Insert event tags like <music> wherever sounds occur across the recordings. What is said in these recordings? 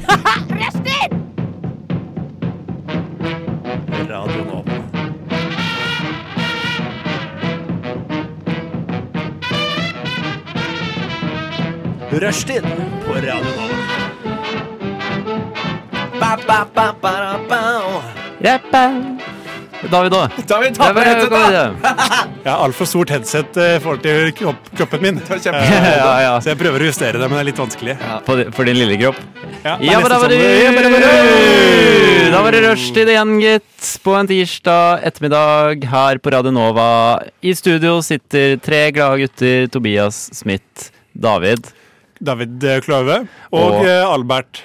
Røster! Radio Nova. Rushtid på Radio Nova. Ba, ba, ba, ba, da, ba. David òg. David, ta på headsetet, da! Jeg har altfor stort headset eh, i forhold til kropp, kroppen min. Eh, Det var kjempe- Ja, ja. Så jeg prøver å justere det, men det er litt vanskelig. For, di- for din lille kropp. Ja, det er Ja, men da nesten var det sånn- Ja, men det var det- Da var det rushtid igjen, gitt. På en tirsdag ettermiddag her på Radio Nova. I studio sitter tre glade gutter. Tobias, Smith, David. David eh, Kløve og Og- eh, Albert.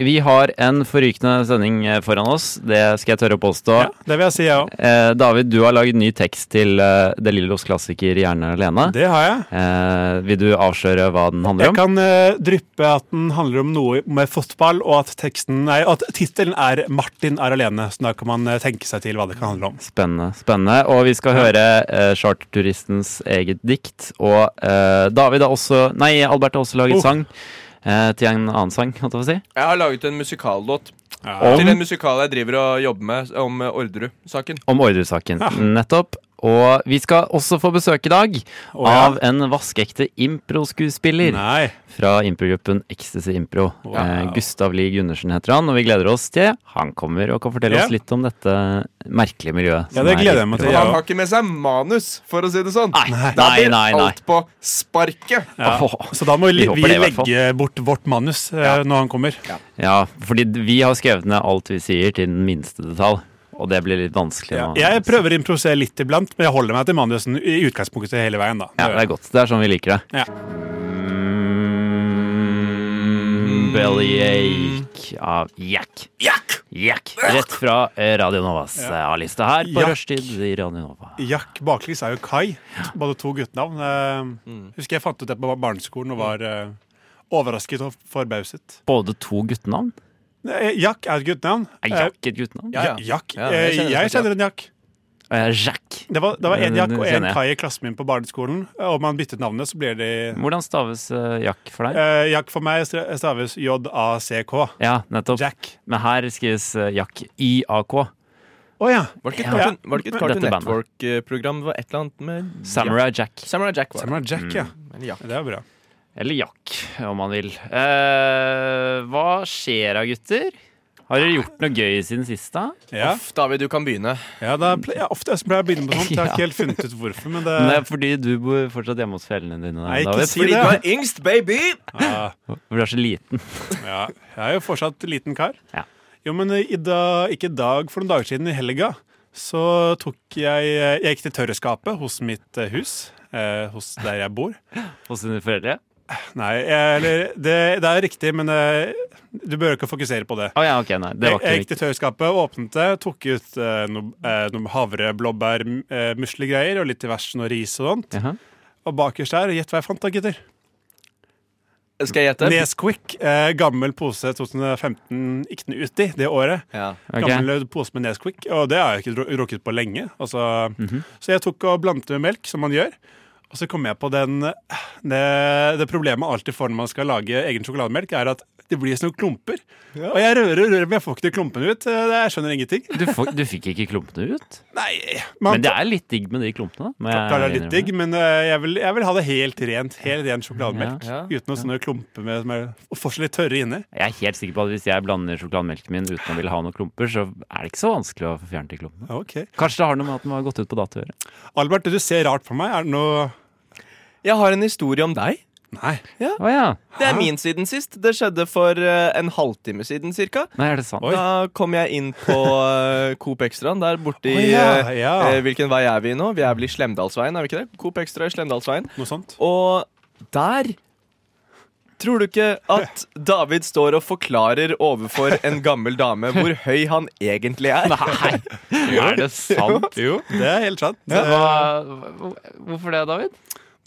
vi har en forrykende sending eh, foran oss, det skal jeg tørre å påstå. Ja, det vil jeg si, jeg òg. Eh, David, du har laget ny tekst til eh, Det Lillos klassiker 'Hjerne alene'. Det har jeg. Eh, vil du avsløre hva den handler Jeg om? kan eh, dryppe at den handler om noe med fotball, og at, teksten- nei, at tittelen er 'Martin er alene'. Så da kan man eh, tenke seg til hva det kan handle om. Spennende. spennende. Og vi skal høre eh, charterturistens eget dikt. Og eh, David har også Nei, Albert har også laget Oh. sang. eh, til en annen sang, holdt jeg på å si. Jeg har laget en musikallåt Om- til en musikal jeg driver og jobber med om eh, Orderud-saken. Om ordresaken, nettopp. Og vi skal også få besøk i dag Å, ja. av en vaskeekte improskuespiller Nei. fra improgruppen Ecstasy Impro. Eh, Gustav Lie Gundersen heter han, og vi gleder oss til han kommer og kan fortelle Ja. oss litt om dette merkelige miljøet. Ja, som det er gleder jeg meg til. Og impro. Ja. han har ikke med seg manus, for å si det sånn. Nei, Da nei, blir nei. nei. alt på sparket. Ja. Åh. Så da må Vi vi, håper vi det, i hvert fall. legge bort vårt manus eh, når han kommer. Ja, fordi vi har skrevet ned alt vi sier til den minste detalj, og det blir litt vanskelig. Ja. nå. Jeg prøver å improvisere litt iblant, men jeg holder meg til manusen i utgangspunktet hele veien. da. Ja, det er godt. Det er sånn vi liker det. Ja. Mm, Bellyache av Jack. Jack! Jack. Rett fra eh, Radio Novas eh, A-liste her på Jack. rushtid i Radio Nova. Jack baklengs er jo Kai. Både to guttenavn. Eh, Mm. Husker jeg fant ut det på barneskolen og var eh, overrasket og forbauset. Både to guttenavn? Eh, Jack er et guttenavn. Er Eh, Jack et guttenavn? Ja, ja. Jack. Ja, jeg eh, kjenner jeg faktisk Jack. kjenner en Jack. Eh, Jack. Det var, det var en Eh, Jack det og en kjenner jeg. Kai i klassen min på barneskolen. Om han byttet navnet, så blir de Hvordan staves eh, Jack for deg? eh, Jack for meg stra- staves J-A-C-K. Ja, nettopp. Jack. Men her skrives eh, Jack IAK. Å ja. Var det ikke Ja. et Cartoon, var det ikke et Dette Cartoon bandet. Network-program? Det var et eller annet med Samurai Jack. Jack. Samurai Jack. Var det. Samurai Jack, ja. Mm. Eller Jack. Det er bra. Eller Jack, om man vil. Eh, hva skjer da, gutter? Har dere gjort noe gøy siden sist, da? Ja, Uff, David, du kan begynne. ja da ple ja, ofte jeg som pleier å begynne på sånt. Jeg har <laughs> ikke helt funnet ut hvorfor, men det Men det er fordi du bor fortsatt hjemme hos foreldrene dine. Eh. Nei, ikke David, si Fordi det. du er yngst, baby! Ja, For du er så liten. ja. Jeg er jo fortsatt liten kar. Ja. Jo, men i dag, ikke i dag, for noen dager siden i helga, så tok jeg Jeg gikk til tørreskapet hos mitt eh, hus. Eh, hos der jeg bor. Hos dine foreldre? Nei, jeg- eller Det, det er riktig, men eh, du bør ikke fokusere på det. Å ja, ok, nei. Det var jeg ikke gikk til tørrskapet, åpnet det, tok ut eh, noen eh, noen havre, blåbær, eh, muslegreier og litt diverse noe ris og sånt. Jaha. Og bakerst der, gjett hva jeg fant da, gutter. Skal jeg gjette? Nesquik, eh, gammel pose 2015, ikke den uti det året. Ja. Ok. Gammel pose med Nesquik, og det har jeg ikke dru- drukket på lenge. Altså, Mhm. Så jeg tok og blandet med melk, som man gjør. Og så kom jeg på den, det, det problemet man alltid får når man skal lage egen sjokolademelk, er at det blir sånne klumper. Og jeg rører og rører, men jeg får ikke de klumpene ut. Eh, Jeg skjønner ingenting. Du, får- du fikk ikke klumpene ut? Nei, Men man det er litt digg med de klumpene. da, må jeg klarer det litt innrømme. digg, men eh, jeg vil, jeg vil ha det helt rent. Helt ren sjokolademelk. Ja. Uten noe sånne klumper med, som er og fortsatt litt tørre inni. Jeg er helt sikker på at hvis jeg blander sjokolademelken min uten å ville ha noen klumper, så er det ikke så vanskelig å få fjernet de klumpene. Ok. Kanskje det har noe med at den var gått ut på dato å gjøre. Albert, du ser rart på meg. Er det noe Jeg har en historie om deg. Nei. Å ja. Det er min siden sist. Det skjedde for eh, en halvtime siden cirka. Nei, er det sant? Oi. Da kom jeg inn på eh, Coop Extraen der borte i Å, ja, ja. eh, Hvilken vei er vi i nå? Vi er vel i Slemdalsveien, er vi ikke det? Coop Extra i Slemdalsveien. Noe <laughs> sånt? Og der Tror du ikke at David står og forklarer overfor en gammel dame hvor høy han egentlig er? Nei, er det sant? Jo, det er helt sant. Hva, hvorfor det, David?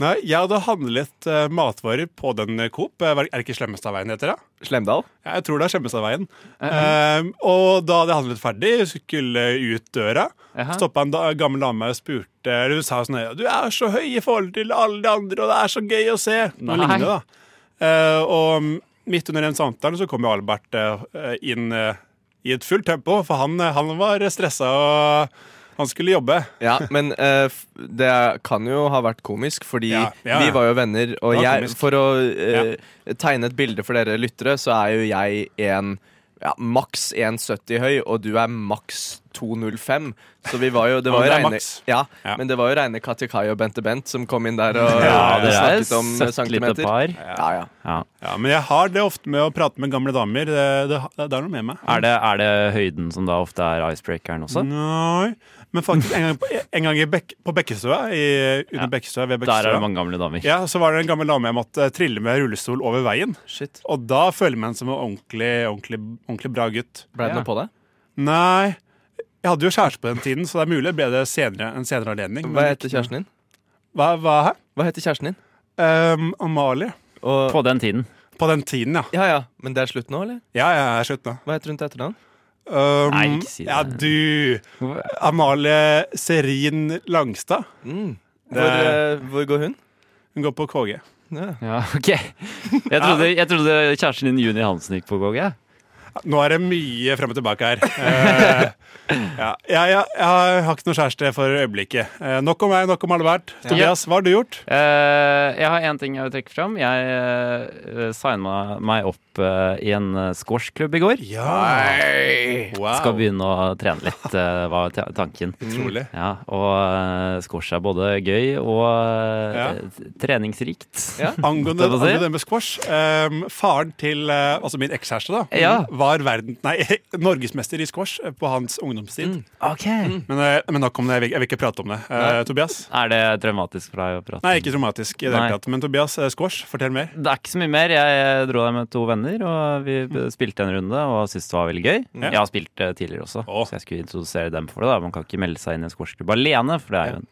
Nei, jeg hadde handlet eh, matvarer på den eh, Coop. Eh, Er det ikke Slemmestadveien det heter det? Slemdal? Ja, jeg tror det er Skjemmestadveien. Ehm, og da hadde jeg handlet ferdig, skulle ut døra. Jaha. Stoppa en da, gammel dame og spurte eller Hun sa sånn her, Du er så høy i forhold til alle de andre, og det er så gøy å se. Noe Nei. lignende, da. Eh, og mm, midt under den samtalen så kom jo Albert eh, inn eh, i et fullt tempo, for han, eh, han var stressa og han skulle jobbe. Ja, men eh, f- det er- kan jo ha vært komisk, fordi Ja, ja, ja. vi var jo venner, og Det var jeg, komisk. for å eh, tegne et bilde for dere lyttere, så er jo jeg en ja, maks 1,70 høy, og du er maks 2,05. Så vi var <laughs> jo Det var jo Ja, det er reine, maks. ja, Ja. men det var jo reine Katja Kai og Bente Bent som kom inn der og <laughs> Ja, og dere Dere er snakket om et søtt lite centimeter. par. Ja, ja. Ja. Ja, Men jeg har det ofte med å prate med gamle damer. Det, det, det er noe med meg. Er, det, er det høyden som da ofte er icebreakeren også? Mm. Nei, men faktisk en gang, på- en gang i Bek på Bekkestua, i, under Ja. Bekkestua, ved Der er det Bekkestua, mange gamle damer. ja, så var det en gammel dame jeg måtte trille med rullestol over veien. Shit. Og da føler man seg som en ordentlig, ordentlig, ordentlig bra gutt. Ble det Ja. noe på det? Nei, jeg hadde jo kjæreste på den tiden, så det er mulig det ble det senere, en senere anledning. Hva heter kjæresten din? Hva, hva her? Hva heter kjæresten din? Um, Amalie. Og, På den tiden. På den tiden, ja. ja, ja, men det er slutt nå, eller? Ja, ja, jeg er slutt nå. Hva heter hun til etternavn? Um, Nei, ikke si det. Ja, du. Amalie Serin Langstad. Mm. Det- Hvor, eh, hvor går hun? Hun går på KG. Ja. Ja, ok. Jeg trodde, jeg trodde kjæresten din Juni Hansen gikk på GOG. jeg. Nå er det mye frem og tilbake her. Eh, ja. jeg, jeg, jeg har ikke noe kjæreste for øyeblikket. Eh, nok om meg, nok om Albert. Tobias, hva har du gjort? Eh, jeg har én ting jeg vil trekke fram. Jeg uh, signa meg opp eh, i en eh, squashklubb i går. Wow. Mm. Skal begynne å trene litt, <laughs> eh, var ta- tanken. <laughs> Utrolig. Ja, og uh, squash er både gøy og eh, treningsrikt. Ja. Angående, Det får si. angående det med squash eh, Faren til eh, altså min ekskjæreste da Ja. var verden, nei, <laughs> norgesmester i squash eh, på hans ungdomstid. <laughs> Ok. Men, eh, men nok om det. Jeg vil, jeg vil ikke prate om det. Eh, Tobias? Er det traumatisk for deg å prate? Nei, ikke traumatisk. i det Nei. hele tatt Men Tobias, eh, squash, fortell mer. Det er ikke så mye mer. Jeg dro der med to venner, og vi b- Mm. spilte en runde og syntes det var veldig gøy. Jeg har spilt det tidligere også, Å. så jeg skulle introdusere dem for det. da Man kan ikke melde seg inn i en squashklubb alene, for det er jo en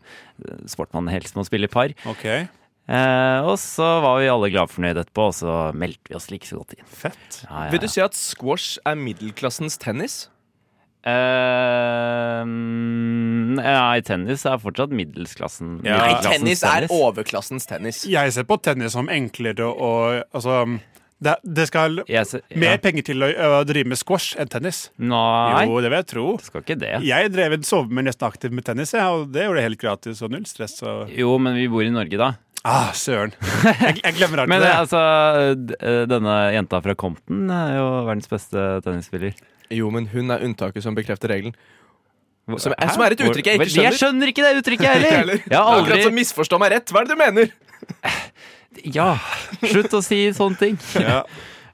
eh, sport man helst må spille i par. Ok, Eh, og så var vi alle glad fornøyd etterpå, og så meldte vi oss like så godt inn. Fett. Ja, ja, Vil ja. du si at squash er middelklassens tennis? Eh, nei, tennis er fortsatt middelsklassen. Ja. middelklassens overklassens tennis. Jeg ser på tennis som enklere og altså, det, det skal Jeg ser- Mer ja. penger til å, å drive med squash enn tennis. Nei, Jo, det vil jeg tro. det skal ikke det. Jeg drev en sovemer nesten aktivt med tennis, jeg, og det gjorde jeg helt gratis og null stress. Og... Jo, men vi bor i Norge, da. Ah, søren. Jeg, jeg glemmer alltid <laughs> Men det. altså, d- eh, denne jenta fra Compton er jo verdens beste tennisspiller. Jo, men hun er unntaket som bekrefter regelen. Hvor- Som, Hæ? som er et Hvor- uttrykk jeg ikke Vel, skjønner. Jeg skjønner ikke det uttrykket, <laughs> heller! Ikke heller. Jeg har Akkurat som aldri misforstå meg rett. Hva er det du mener? Ja, slutt å si sånne <laughs> ting. Ja.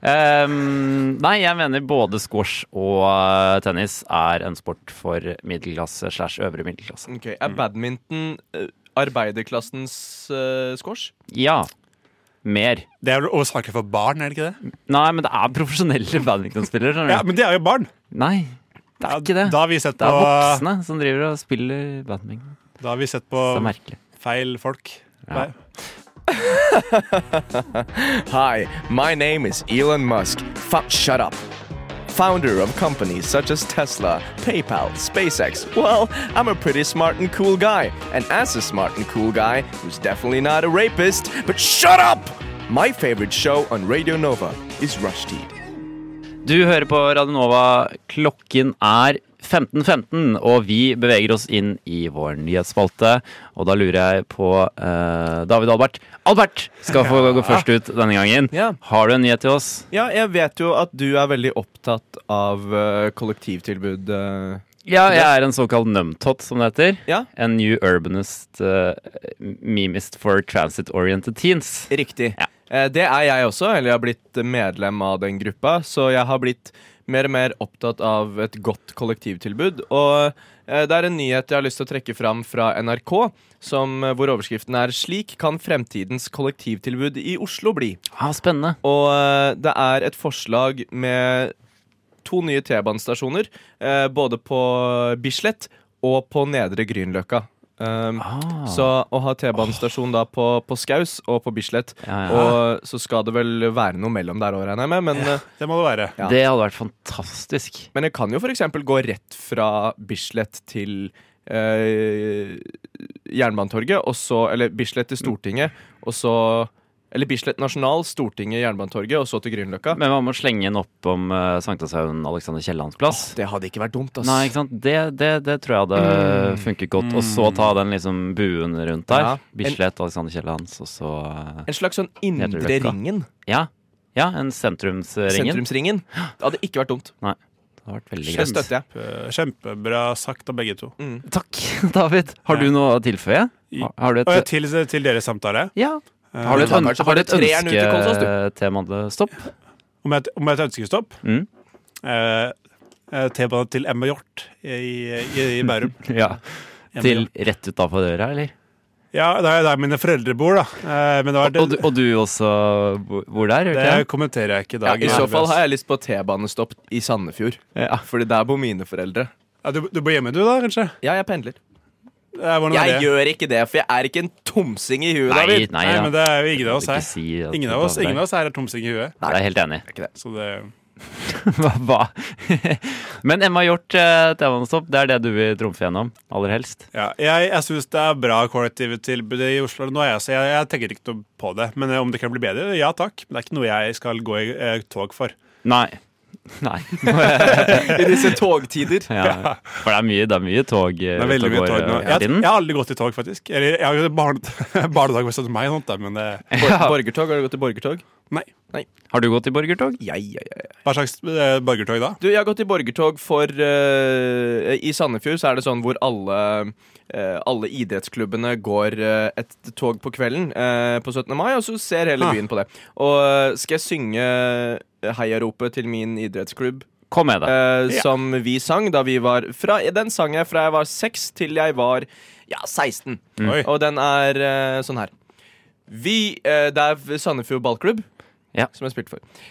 Ehm, nei, jeg mener både squash og eh, tennis er en sport for middelklasse slash øvre middelklasse. Ok, Er badminton eh, arbeiderklassens eh, squash? Ja. Mer. Det er vel årsaker for barn, er det ikke det? Nei, men det er profesjonelle badmintonspillere. skjønner du. Ja, Men det er jo barn. Nei, det er ikke det. Da har vi sett Det på, er voksne som driver og spiller badminton. da har vi sett på Det er merkelig. feil folk. Ja. Hi, my name is Elon Musk. Fu- shut up. Founder of companies such as Tesla, PayPal, SpaceX. Well, I'm a pretty smart and cool guy. And as a smart and cool guy, who's definitely not a rapist, but shut up! My favorite show on Radio Nova is Rush Teed. Du hører på Radionova. Klokken er 15.15, og vi beveger oss inn i vår nyhetsspalte. Og da lurer jeg på eh, David Albert. Albert skal få gå først ut denne gangen. Ja. Har du en nyhet til oss? Ja, jeg vet jo at du er veldig opptatt av eh, kollektivtilbud. eh. Ja, jeg er en såkalt numtot, som det heter. Ja. En new urbanist eh, memist for transit-oriented teens. Riktig. Ja. Eh, Det er jeg også, eller jeg har blitt medlem av den gruppa. Så jeg har blitt mer og mer opptatt av et godt kollektivtilbud. Og eh, det er en nyhet jeg har lyst til å trekke fram fra NRK, som, eh, hvor overskriften er 'Slik kan fremtidens kollektivtilbud i Oslo bli'. Ah, spennende. Og eh, det er et forslag med to nye T-banestasjoner, eh, både på Bislett og på Nedre Grünerløkka. Um, Ah. Så å ha T-banestasjon da på, på Skaus og på Bislett, Ja, ja. og så skal det vel være noe mellom der òg, regner jeg med. Men, eh, Det må det være. Ja. Det hadde vært fantastisk. men jeg kan jo f.eks. gå rett fra Bislett til eh, Jernbanetorget, og så Eller Bislett til Stortinget, og så Eller Bislett Nasjonal, Stortinget, Jernbanetorget, og så til Grünerløkka. Men man må slenge den opp om uh, Sankthanshaugen, Alexander Kiellands plass. Det hadde ikke vært dumt, ass. Nei, ikke sant? Det, det, det tror jeg hadde Mm. funket godt. Og så ta den liksom buen rundt der. Ja. Bislett, Alexander Kiellands, og så eh, En slags sånn indre Nedreløkka. ringen. Ja. ja, en sentrumsringen. Sentrumsringen. Det hadde ikke vært dumt. Det hadde vært veldig Det greit. støtter jeg. Kjempe- Kjempebra sagt av begge to. Takk, <laughs> David. Har du noe å tilføye? Har, har du Og et til, til deres samtale. Ja. Eh, Har du et, øn Taperen, så har du et får du treeren ut til Kolsås, du. ønsketema? Stopp. Om et, om et ønskestopp. Mm. Eh, eh, T-bane til Emma Hjort i, i, i Bærum. Ja. Emma <laughs> Til Hjort. rett utafor døra, eller? Ja, det er der mine foreldre bor, da. Eh, men det, var, Og, du- og du også bo- bor der? gjør det ikke kommenterer jeg ikke i Ja, dag. I så fall har jeg lyst på T-banestopp i Sandefjord. Fordi der bor mine foreldre. ja, du, du bor hjemme, du, da, kanskje? Ja, jeg pendler. Eh, hvordan Jeg er det? gjør ikke det, for jeg er ikke en tomsing i huet, Nei, David. nei, Nei, ja. men det er jo ingen av Jeg oss vil her. ikke si at Ingen det av oss, passer ingen deg. av oss her er tomsing i huet. Jeg er helt enig. Så det, Hva? Men Emma Hjort, eh, T-banestopp, det er det du vil trumfe gjennom aller helst? ja. Jeg, jeg syns det er bra kollektivtilbud i Oslo nå, jeg, så jeg, jeg tenker ikke noe på det. Men eh, om det kan bli bedre, ja takk. Men det er ikke noe jeg skal gå i eh, tog for. Nei. Nei. <laughs> I disse togtider. Ja. For det er mye, det er mye tog eh, Det er veldig ute mye og går, tog nå. eh, hele Jeg, tiden. jeg har aldri gått i tog, faktisk. Eller jeg har jo barne, <laughs> barnedag med 17. mai og sånt, da, men det, Bor borgertog, Har du gått i borgertog? nei. Har du gått i borgertog? Ja, ja, ja. ja. Hva slags eh, borgertog da? Du, jeg har gått i borgertog for eh, I Sandefjord så er det sånn hvor alle eh, alle idrettsklubbene går eh, et tog på kvelden eh, på 17. mai, og så ser hele Ah. byen på det. Og eh, skal jeg synge eh, heiaropet til min idrettsklubb Kom med det. eh, Ja. som vi sang da vi var fra, Den sang jeg fra jeg var seks til jeg var ja, 16. Mm. Oi. <laughs> Og den er eh, sånn her. Vi eh, Det er Sandefjord ballklubb Ja. som jeg spilte for.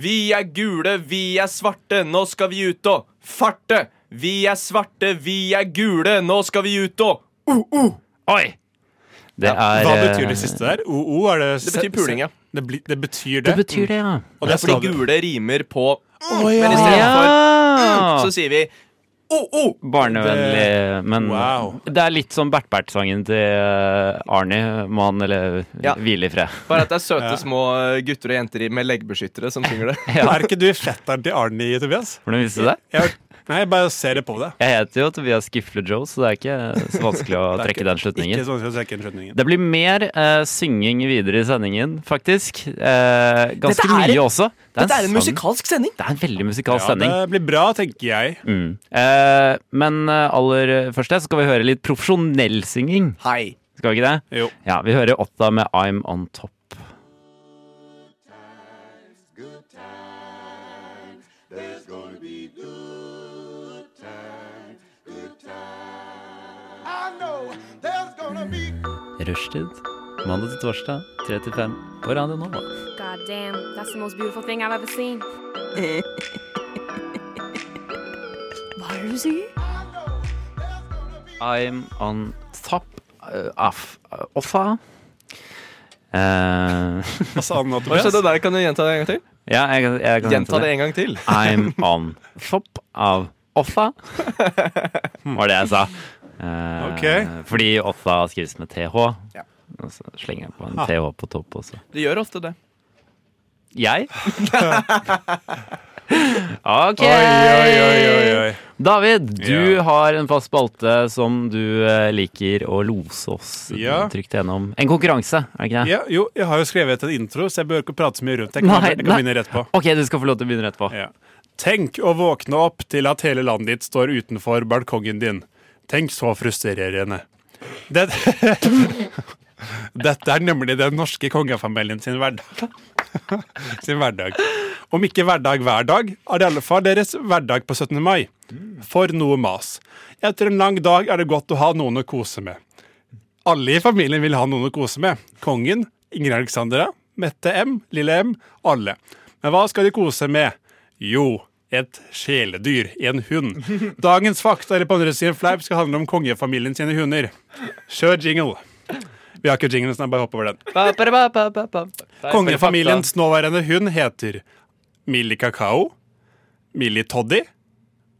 Vi er gule, vi er svarte, nå skal vi ut og farte. Vi er svarte, vi er gule, nå skal vi ut og Oi! Det er Hva eh, betyr det siste der? OO? Er det Det betyr puling, ja. Det, blir- det betyr det? Det betyr det, ja. og Det er skal fordi du- gule rimer på Å, ja. Men i stedet Ja! så sier vi o-o. Mm, Barnevennlig, men Wow. det er litt som Bert-Bert-sangen til eh, Arnie. Må han eller Ja. hvile i fred. Bare at det er søte små eh, gutter og jenter i- med leggbeskyttere som synger <laughs> det. Er ikke du fetteren til Arnie, Tobias? Hvordan visste du det? Jeg, har- nei, jeg bare ser det på deg. Jeg heter jo Tobias Gifle Joe, så det er ikke så vanskelig å <laughs> Det er trekke den slutningen. Ikke sånn å trekke den slutningen. Det blir mer eh, synging videre i sendingen, faktisk. Eh, ganske Dette er mye en- også. Det Dette er en sang- musikalsk sending. Det er en veldig musikalsk Ja, sending. det blir bra, tenker jeg. Mm. Eh, men eh, aller først her så skal vi høre litt profesjonell synging. Hei. Skal vi ikke det? Jo. Ja, vi hører Otta med I'm On Top. Rushtid, mandag til torsdag, 3 til 5 på Radio Nova. God damn, that's the most beautiful thing I've ever <laughs> seen. Hva er det du sier? I'm on top eh, of Offa. Eh, <laughs> Hva sa han nå, Så Tobias? det der kan du gjenta det en gang til. ja, jeg, kan- jeg kan Gjenta hente det en gang til. I'm on top av Offa. Var det jeg sa. Eh, Ok. Fordi Offa skrives med TH. Ja. Og så slenger jeg på en TH på topp også. Du gjør ofte det. <laughs> Jeg? OK. Oi, oi, oi, oi, oi. David, du Ja. har en fast spalte som du eh, liker å lose oss Ja. trygt gjennom. En konkurranse, er det ikke det? Ja, jo, jeg har jo skrevet en intro, så jeg bør ikke prate så mye rundt. Jeg kan, Nei, jeg kan nei. begynne rett på. OK, du skal få lov til å begynne etterpå. Ja. Tenk å våkne opp til at hele landet ditt står utenfor balkongen din. Tenk så frustrerende. Det... <laughs> Dette er nemlig den norske kongefamilien sin hverdag. <laughs> sin hverdag. Om ikke hverdag hver dag, er det i alle fall deres hverdag på 17. mai. For noe mas. Etter en lang dag er det godt å ha noen å kose med. Alle i familien vil ha noen å kose med. Kongen, Ingrid Alexandra, Mette M, Lille M, alle. Men hva skal de kose med? Jo, et kjæledyr, en hund. <laughs> Dagens fakta eller på andre siden fleip skal handle om kongefamilien sine hunder. Kjør jingle. Vi har ikke jingle, så jeg bare hopper over den. Kongefamiliens nåværende hund heter Millie Kakao, Millie Toddy,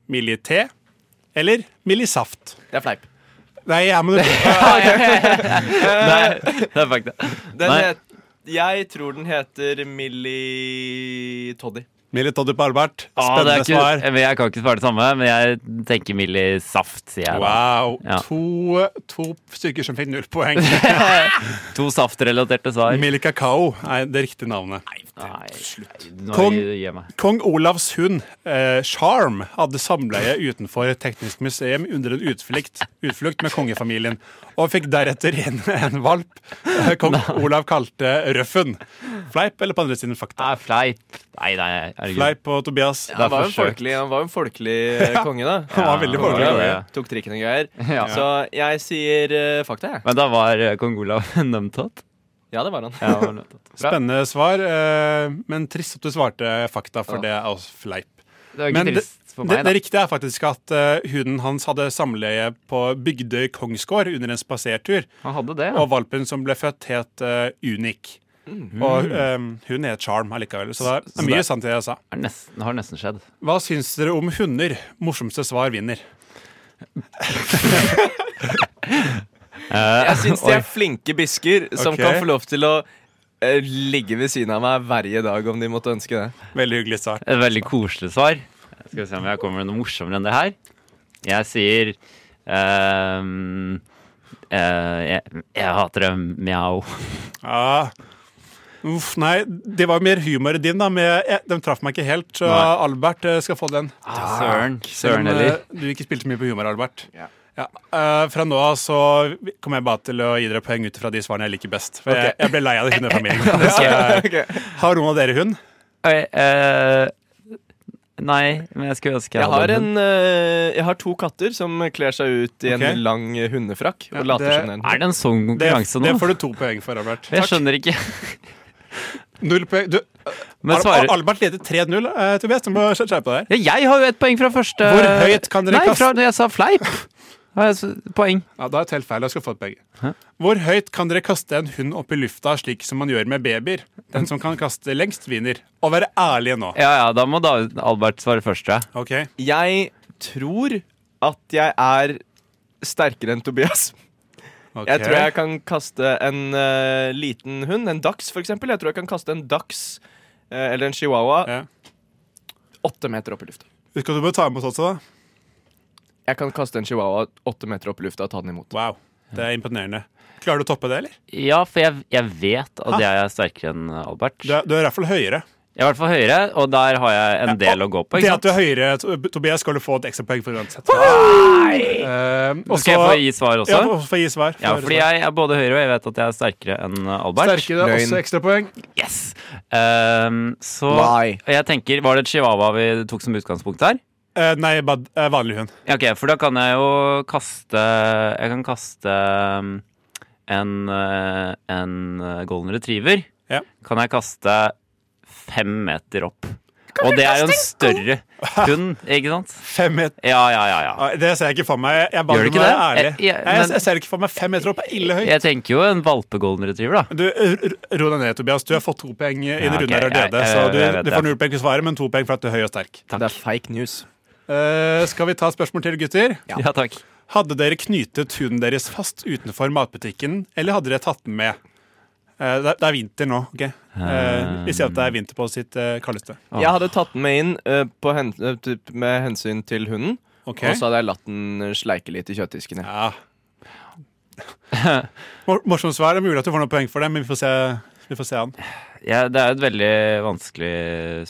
Millie Te eller Millie Saft. Det er fleip. Nei, jeg må <laughs> Nei, det er fakta. Den Nei. het, jeg tror den heter Millie Toddy. Millie Toddy på Albert. Ah, det er Spennende ikke, svar. jeg, jeg kan ikke svare det samme, men jeg tenker Millie Saft, sier jeg. da. Wow. Ja. To, to stykker som fikk null <laughs> poeng. To saftrelaterte svar. Millie Kakao er det riktige navnet. Nei, nå Kong- gi- gi meg. Kong Olavs hund, eh, Charm, hadde samleie utenfor Teknisk museum under en utflukt, utflukt med kongefamilien, og fikk deretter inn en valp eh, kong Olav kalte Røffen. Fleip eller på andre siden fakta? Nei, fleip. Nei, nei, herregud. Fleip og Tobias. Han var jo en forsøkt. folkelig, han var jo en folkelig <laughs> eh, konge, da. Han var veldig Konge, folkelig. ja, ja. og Tok trikken og greier. <laughs> Ja. Så jeg sier eh, fakta, jeg. Men da var eh, kong Olav <laughs> numtatt? Ja, det var han. <laughs> Ja, han var numtatt. Bra. Spennende svar, eh, men trist at du svarte fakta, for Ja. det er også fleip. Det var ikke Men det, trist for det, meg, det da. riktige er faktisk at eh, hunden hans hadde samleie på Bygdøy kongsgård under en spasertur. Han hadde det, ja. Og valpen som ble født, het eh, Unik. Og eh, hun het Charm allikevel. Så det Mm. Så er mye det- sant i det jeg sa. Har nesten, har nesten skjedd. Hva syns dere om hunder? Morsomste svar vinner. Jeg syns de er flinke bisker som Ok. kan få lov til å eh, ligge ved siden av meg hver dag om de måtte ønske det. Veldig hyggelig svar. Et veldig koselig svar. Skal vi se om jeg kommer med noe morsommere enn det her. Jeg sier ehm, eh, jeg, jeg hater dem, mjau. Ja. Ah. Uff, nei, det var mer humor i din, da. Med, eh, de traff meg ikke helt, så Nei. Albert eh, skal få den. Søren. Selv Søren om eller? eh, du ikke spilte så mye på humor, Albert. Ja, eh, fra nå av så kommer jeg bare til å gi dere poeng ut fra de svarene jeg liker best. For jeg, jeg ble lei av det <laughs> hundefamilien. <laughs> Så, eh, Har noen av dere hund? Oi, eh, nei, men jeg skulle ønske jeg, Jeg har, hadde en, eh, jeg har to katter som kler seg ut i en Ok. hund. lang hundefrakk og Ja, later det- som den. Er det en sånn Det, konkurranse det nå? får du to poeng for, Albert. Jeg skjønner ikke. Null poeng. Du, Men Al- svarer Al- Albert leder 3-0. eh, Tobias, du må skjerpe deg. ja, Jeg har jo ett poeng fra første Hvor høyt kan dere Nei, kaste- fra når jeg sa fleip. Har jeg s- poeng. Ja, da er det helt feil. Jeg skal få et poeng. Hvor høyt kan dere kaste en hund opp i lufta, slik som man gjør med babyer? Den som kan kaste lengst, vinner. Og være ærlige nå. Ja ja, da må da Albert svare først, tror jeg. Ok, Jeg tror at jeg er sterkere enn Tobias. ok. Jeg tror jeg kan kaste en eh, liten hund, en dachs for eksempel. Jeg tror jeg kan kaste en dachs eh, eller en chihuahua Ja. åtte meter opp i lufta. Husk at du må ta imot også, da. Jeg kan kaste en chihuahua åtte meter opp i lufta og ta den imot. Wow, det er imponerende. Klarer du å toppe det, eller? Ja, for jeg, jeg vet at jeg er sterkere enn Albert. Du er, du er i hvert fall høyere. Jeg er i hvert fall høyere, og der har jeg en del å gå på. Det Ikke at du sant? er høyere, Tob- Tobias, skal du få et ekstrapoeng for uansett. Ehm, og Skal jeg så- få gi svar Ja, også? du får gi svar. Ja, Få høre fordi svar. jeg er både høyere og jeg vet at jeg er sterkere enn eh, Albert. Sterkere Løgn. også ekstrapoeng. Yes! Ehm, så Lie. Og jeg tenker, Var det chihuahua vi tok som utgangspunkt her? Eh, nei, bad, eh, vanlig hund. Ja, Ok, For da kan jeg jo kaste Jeg kan kaste um, en, eh, en eh, golden retriever. Ja. Kan jeg kaste fem meter opp. Og det er jo en større hund, ikke sant? Fem meter. Ja, ja, ja. ja. Ah, Det ser jeg ikke for meg. Jeg- Jeg bare Gjør du må ikke være det? ærlig. Eh, ja, Nei, jeg, men- jeg ser ikke for meg fille meter opp. er Ille høyt. Jeg tenker jo en valpe-golden retriever, da. Du, r- r- Ro deg ned, Tobias. Du har fått to poeng i Ja, denne ok, runden her jeg- allerede. Så jeg- jeg vet du, du det. får null poeng for svaret, men to poeng for at du er høy og sterk. Det er fake news. Eh, skal vi ta et spørsmål til, gutter? Ja, takk. Hadde dere knyttet hunden deres fast utenfor matbutikken, eller hadde dere tatt den med? Eh, det, er, det er vinter nå, OK? Eh, vi ser at det er vinter på sitt eh, kaldeste. Ah. Jeg hadde tatt den med inn eh, på hen, eh, typ med hensyn til hunden. Ok? Og så hadde jeg latt den eh, sleike litt i kjøttdisken. Ja. Ja. Mor morsomt svar. Det er mulig at du får noen poeng for det, men vi får se, vi får se an. Ja, det er et veldig vanskelig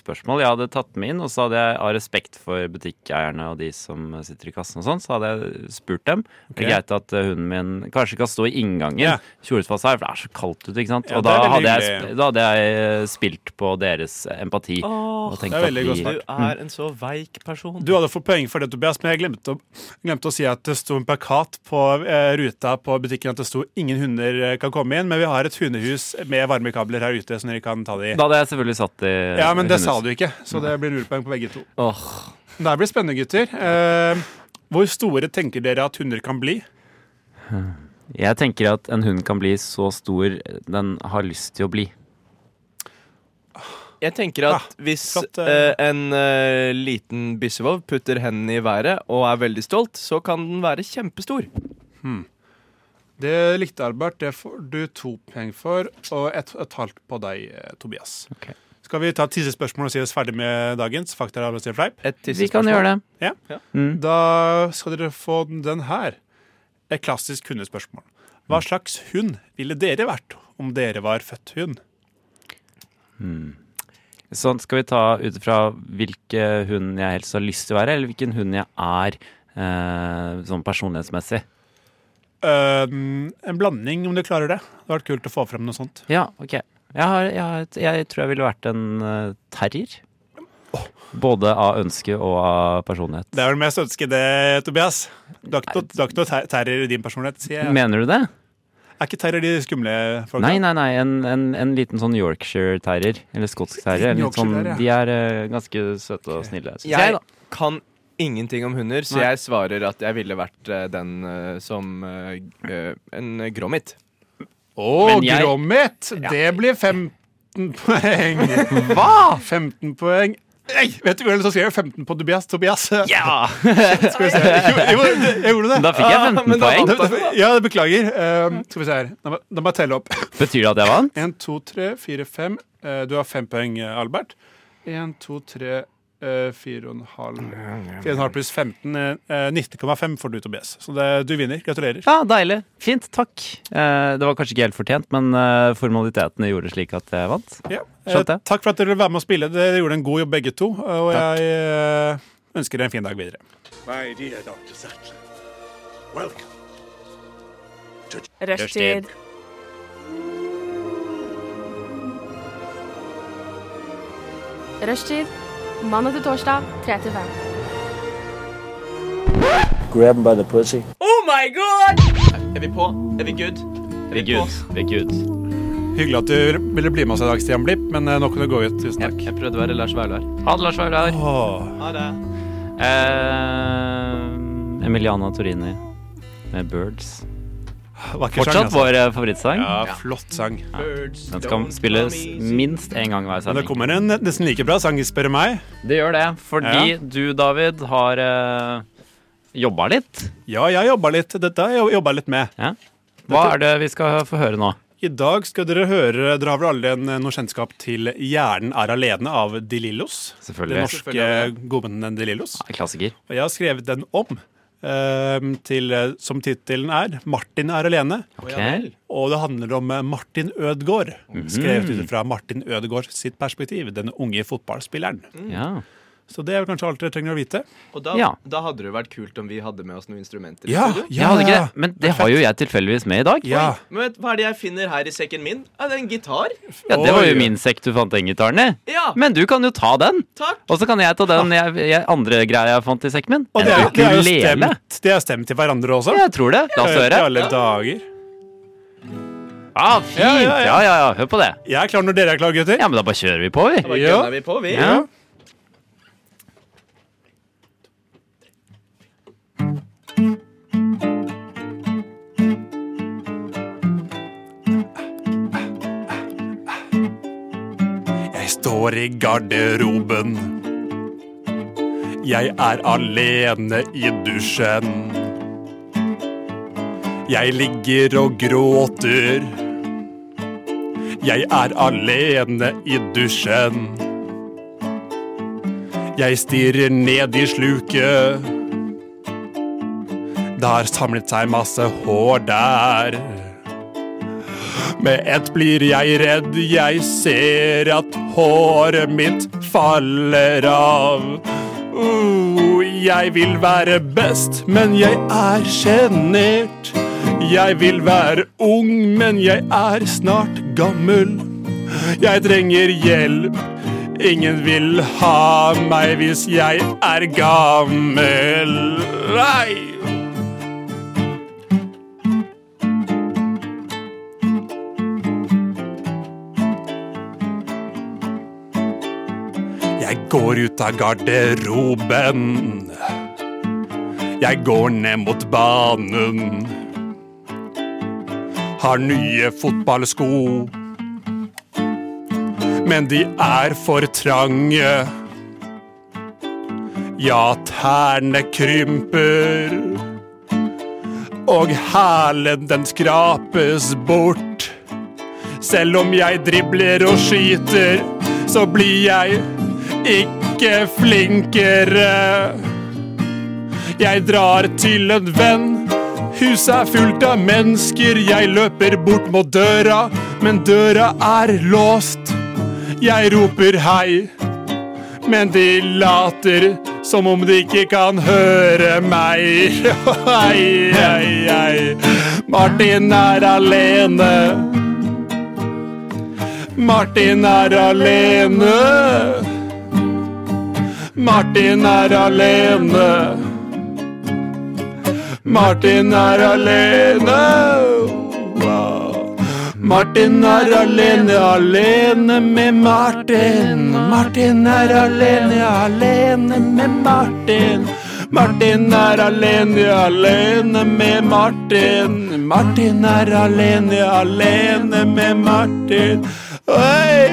spørsmål. Jeg hadde tatt med inn, og så hadde jeg av respekt for butikkeierne og de som sitter i kassen og sånn, så hadde jeg spurt dem. Det er Ok. greit at eh, hunden min kanskje kan stå i inngangen, Ja. kjolet fast her, for det er så kaldt ute, ikke sant. Ja, og det da er veldig hadde, jeg, hyggelig. sp- da hadde jeg eh, spilt på deres eh, empati. og tenkt det er at veldig de- godt svar. er en så veik person. Du hadde fått poeng for det, Tobias, men jeg glemte å, glemte å si at det sto en plakat på eh, ruta på butikken at det sto 'Ingen hunder eh, kan komme inn', men vi har et hundehus med varmekabler her ute. som dere vi kan ta det i. Da hadde jeg selvfølgelig satt eh, det Ja, men det sa du ikke, så det blir null poeng på begge to. Åh. Det her blir spennende, gutter. Eh, hvor store tenker dere at hunder kan bli? Jeg tenker at en hund kan bli så stor den har lyst til å bli. Jeg tenker at hvis Ah, flott, eh, eh. en eh, liten byssevov putter hendene i været og er veldig stolt, så kan den være kjempestor. Det likte Albert. Det får du to poeng for, og et, et halvt på deg, eh, Tobias. Ok. Skal vi ta et siste spørsmål og si oss ferdig med dagens fakta? eller si fleip? Et Vi kan gjøre det. Mm. Da skal dere få den- den her. Et klassisk hundespørsmål. Hva slags hund ville dere vært om dere var født hund? Sånn skal vi ta ut ifra hvilke hund jeg helst har lyst til å være, eller hvilken hund jeg er eh, sånn personlighetsmessig. Øhm, Eh, en blanding, om du klarer det. Det hadde vært kult å få frem noe sånt. Ja, ok. Jeg, har, jeg, har et, jeg tror jeg ville vært en eh, terrier. Både av ønske og av personlighet. Det er vel mest ønsket det, Tobias. Du har ikke noe- du har ikke noe ter- terror i din personlighet, sier jeg. Mener du det? Er ikke terror de skumle folka? Nei, nei, nei. En, en, en liten sånn Yorkshire-terrier. Eller skotsk terrier. Liten Litt Sånn, Yorkshire-terrier, ja. de er eh, ganske søte og snille. synes jeg, Jeg da. kan ingenting om hunder, så Nei. jeg svarer at jeg ville vært eh, den eh, som eh, eh, en gromit. Å, Men jeg- grommet! Det blir 15 <laughs> poeng. Hva?! 15 poeng. Nei, vet du hvem som skrev 15 på Tobias? Tobias. Skal vi se. Jo, jo, det- jeg gjorde det. Da fikk jeg Ah, 15 men da poeng. vant- Det- det- Ja, det beklager. Ehm, skal vi se her. Da må- Da må jeg telle opp. Betyr det at jeg vant? Én, to, tre, fire, fem. Eh, Du har fem poeng, eh, Albert. Én, to, tre, eh, fire og en halv. Fire og en halv pluss 15. eh, eh, 19,5 får du, Tobias. Så det, du vinner. Gratulerer. Ja, deilig. Fint, takk. Eh, det var kanskje ikke helt fortjent, men eh, formalitetene gjorde slik at jeg vant. Ja. Eh, Skjønte jeg. Takk for at dere ville være med og spille. Dere gjorde en god jobb, begge to. Og jeg eh, ønsker dere en fin dag videre. My dear Dr. Sattler, welcome. Rushtid. Rushtid. Mandag til torsdag, 3 til 5. grab him by the pussy. Er vi på? Er vi good? Er vi på? Hyggelig at du ville bli med oss i dag, Stian Blipp, men eh, nå kan du gå ut. Tusen Jeg, takk. jeg prøvde å være Lars Vaular. Ha det, Lars Vaular. Åh. Ha det. Eh, Emiliana Torini med 'Birds'. Vakker sang, Fortsatt altså. vår eh, favorittsang. Ja, flott sang. Den skal spilles minst én gang Men hver det sending. kommer en nesten like bra sang, spør du meg. Det gjør det, fordi du, David, har uh, jobba litt. Ja, jeg jobba litt. Dette har jeg jobba litt med. Hva er det vi skal få høre nå? I dag skal dere høre Dere har vel alle en, noe kjennskap til 'Hjernen er alene' av De Lillos? Den Selvfølgelig. norske godvennen De Lillos. Klassiker. Og jeg har skrevet den om, eh, til, eh, som tittelen er 'Martin er alene'. Ok. Og det handler om eh, Martin Ødegaard, Mhm. skrevet ut fra Martin Ødegaard sitt perspektiv. Den unge fotballspilleren. Ja. Så det er vel kanskje alt dere trenger å vite. Og da, Ja. da hadde det vært kult om vi hadde med oss noen instrumenter. i studio. Jeg hadde ikke det, men det har jo jeg tilfeldigvis med i dag. Ja. Men vet, Hva er det jeg finner her i sekken min? Er det en gitar? Ja, Det var Oi. jo min sekk du fant den gitaren i. Ja, Men du kan jo ta den. takk! Og så kan jeg ta den jeg, jeg, andre greia jeg fant i sekken min. Og det er, En det er jo ukulele. stemt, det er stemt til hverandre også. Jeg tror det. La oss I høre. alle dager. Ah, fint. Ja, ja, Ja, ja. ja, ja. Hør på det. Jeg er klar når dere er klare, gutter. Ja, men da bare kjører vi på, vi. Da Ja. gunner vi på, vi. Ja. Jeg står i garderoben. Jeg er alene i dusjen. Jeg ligger og gråter. Jeg er alene i dusjen. Jeg stirrer ned i sluket. Det har samlet seg masse hår der. Med ett blir jeg redd, jeg ser at håret mitt faller av. Uh, jeg vil være best, men jeg er sjenert. Jeg vil være ung, men jeg er snart gammel. Jeg trenger hjelp. Ingen vil ha meg hvis jeg er gammel. Nei! Jeg går ut av garderoben. Jeg går ned mot banen. Har nye fotballsko. Men de er for trange. Ja, tærne krymper. Og hælen den skrapes bort. Selv om jeg dribler og skyter, så blir jeg ikke flinkere. Jeg drar til en venn. Huset er fullt av mennesker. Jeg løper bort mot døra, men døra er låst. Jeg roper hei, men de later som om de ikke kan høre meg. <laughs> Hei, hei, hei. Martin er alene. Martin er alene. Martin er alene. Martin er alene. Wow. Martin er alene, alene med Martin. Martin er alene, alene med Martin. Martin er alene, alene med Martin. Martin er alene, alene med Martin. Oi!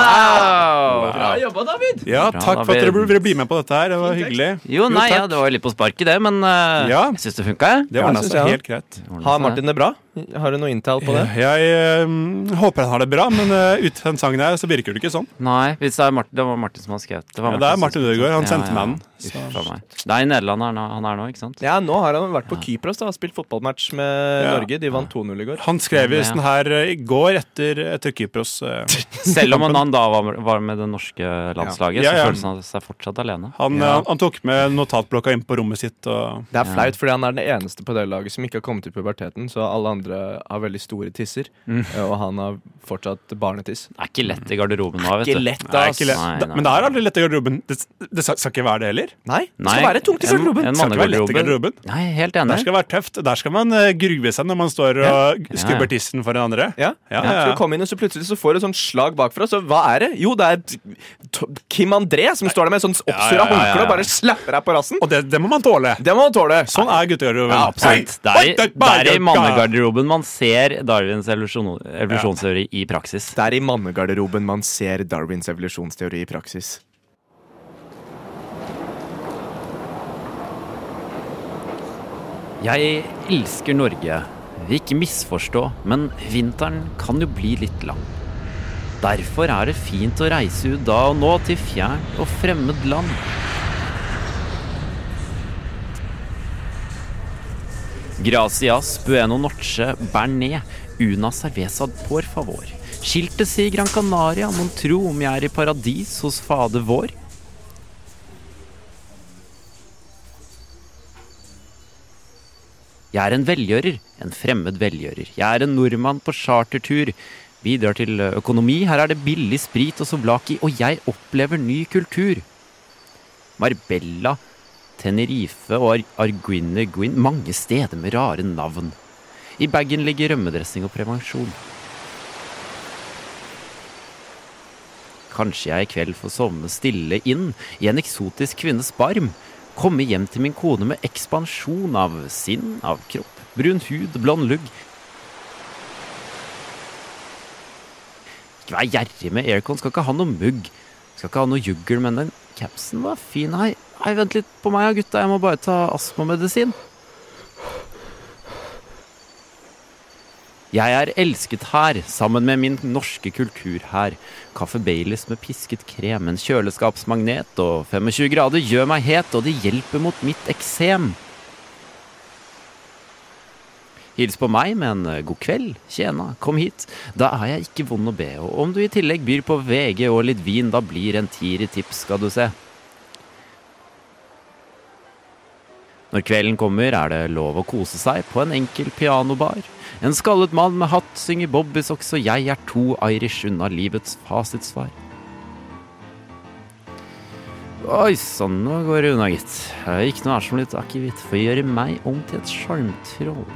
Au! Ja, Bra, takk da for at dere blir- ville bli med på dette her. Det var hyggelig. Jo, nei, takk. ja, det var litt på sparket, det, men eh, Ja. jeg syns det funka. Det ordna Ja, synes seg jeg helt greit. Har Martin det bra? Har du noe inntall på det? Jeg eh, håper han har det bra, men uh, ut den sangen her så virker det ikke sånn. Nei, hvis det, er Martin, det var Martin som har skrevet det. var Ja, det er Martin som- Ødegaard, han sendte meg den, Uff, faen meg. Det er i Nederland han er- han er nå, ikke sant? Ja, nå har han vært på Kypros da, og spilt fotballmatch med Ja. Norge. De vant 2-0 i går. Han skrev Ja. jo sånn her eh, i går etter, etter Kypros. eh, <laughs> Selv om han- han da var, var med det norske landslaget, Ja, ja. så følte han seg fortsatt alene. han, Ja. eh, han tok med notatblokka inn på rommet sitt og Det er flaut, fordi han er den eneste på det laget som ikke har kommet i puberteten. Så alle andre har veldig store tisser, Mm. eh, og han har fortsatt barnetiss. Det er ikke lett i garderoben nå, vet du. Ikke lett, Nei, ass. ikke lett. Nei, Da- nei. Men det er aldri lett i garderoben. Det, det skal skal ikke være det heller. Nei, det Nei, skal være tungt i en- garderoben. en Det skal ikke være lett i Mannegarderoben. garderoben. Nei, helt Der enig. skal det være tøft. Der skal man eh, grue seg når man står og Ja, ja. skubber tissen for den andre. Ja. Ja, Så ja, du kommer inn, og så plutselig så får du et sånt slag bakfra. Så hva er det? Jo, det er T- Kim André som står der med sånn oppsurra Ja, ja, ja, ja, håndkle ja. og bare slapper deg på rassen. Og det, det må man tåle. Det må man tåle. Sånn er guttegarderoben. Ja, absolutt. Det Oi, er, oi, i- det er i oi, mannegarderoben man ser Darwins evolusjon, evolusjonsteori i praksis. Det er i mannegarderoben man ser Darwins evolusjonsteori i praksis. Jeg elsker Norge. Ikke misforstå, men vinteren kan jo bli litt lang. Derfor er det fint å reise ut da og nå til fjern og fremmed land. Gracias bueno noche bernet. Una cerveza por favor. Skiltet sier Gran Canaria, mon tro om jeg er i paradis hos fader vår. Jeg er en velgjører, en fremmed velgjører. Jeg er en nordmann på chartertur. Bidrar til økonomi, her er det billig sprit og souvlaki, og jeg opplever ny kultur. Marbella, Tenerife og Ar Arguine Guin, mange steder med rare navn. I bagen ligger rømmedressing og prevensjon. Kanskje jeg i kveld får sovne stille inn i en eksotisk kvinnes barm. Komme hjem til min kone med ekspansjon av sinn, av kropp, brun hud, blond lugg. Ikke vær gjerrig med aircon, skal ikke ha noe mugg. Skal ikke ha noe juggel, men den capsen var fin. Hei, hei, vent litt på meg, gutta, jeg må bare ta astmamedisin. Jeg er elsket her, sammen med min norske kultur her. Kaffe Baileys med pisket krem, en kjøleskapsmagnet og 25 grader gjør meg het, og det hjelper mot mitt eksem. Hils på meg med en eh, god kveld, tjena, kom hit. Da er jeg ikke vond å be, og om du i tillegg byr på VG og litt vin, da blir en tier i tips, skal du se. Når kvelden kommer, er det lov å kose seg på en enkel pianobar. En skallet mann med hatt synger bobbysocks, og jeg er to Irish unna livets fasitsvar. Oi sann, nå går det unna, gitt. Eh, Ikke noe er som litt akevitt, for å gjøre meg om til et sjarmtroll.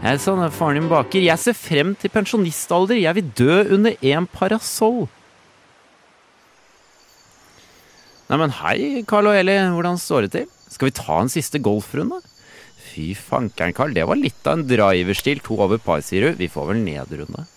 Jeg er sånn, faren din baker. Jeg ser frem til pensjonistalder. Jeg vil dø under en parasoll. Nei, men hei, Carl og Eli. Hvordan står det til? Skal vi ta en siste golfrunde? Fy fankeren, Carl. Det var litt av en driverstil. To over par, sier du. Vi får vel nedrunde.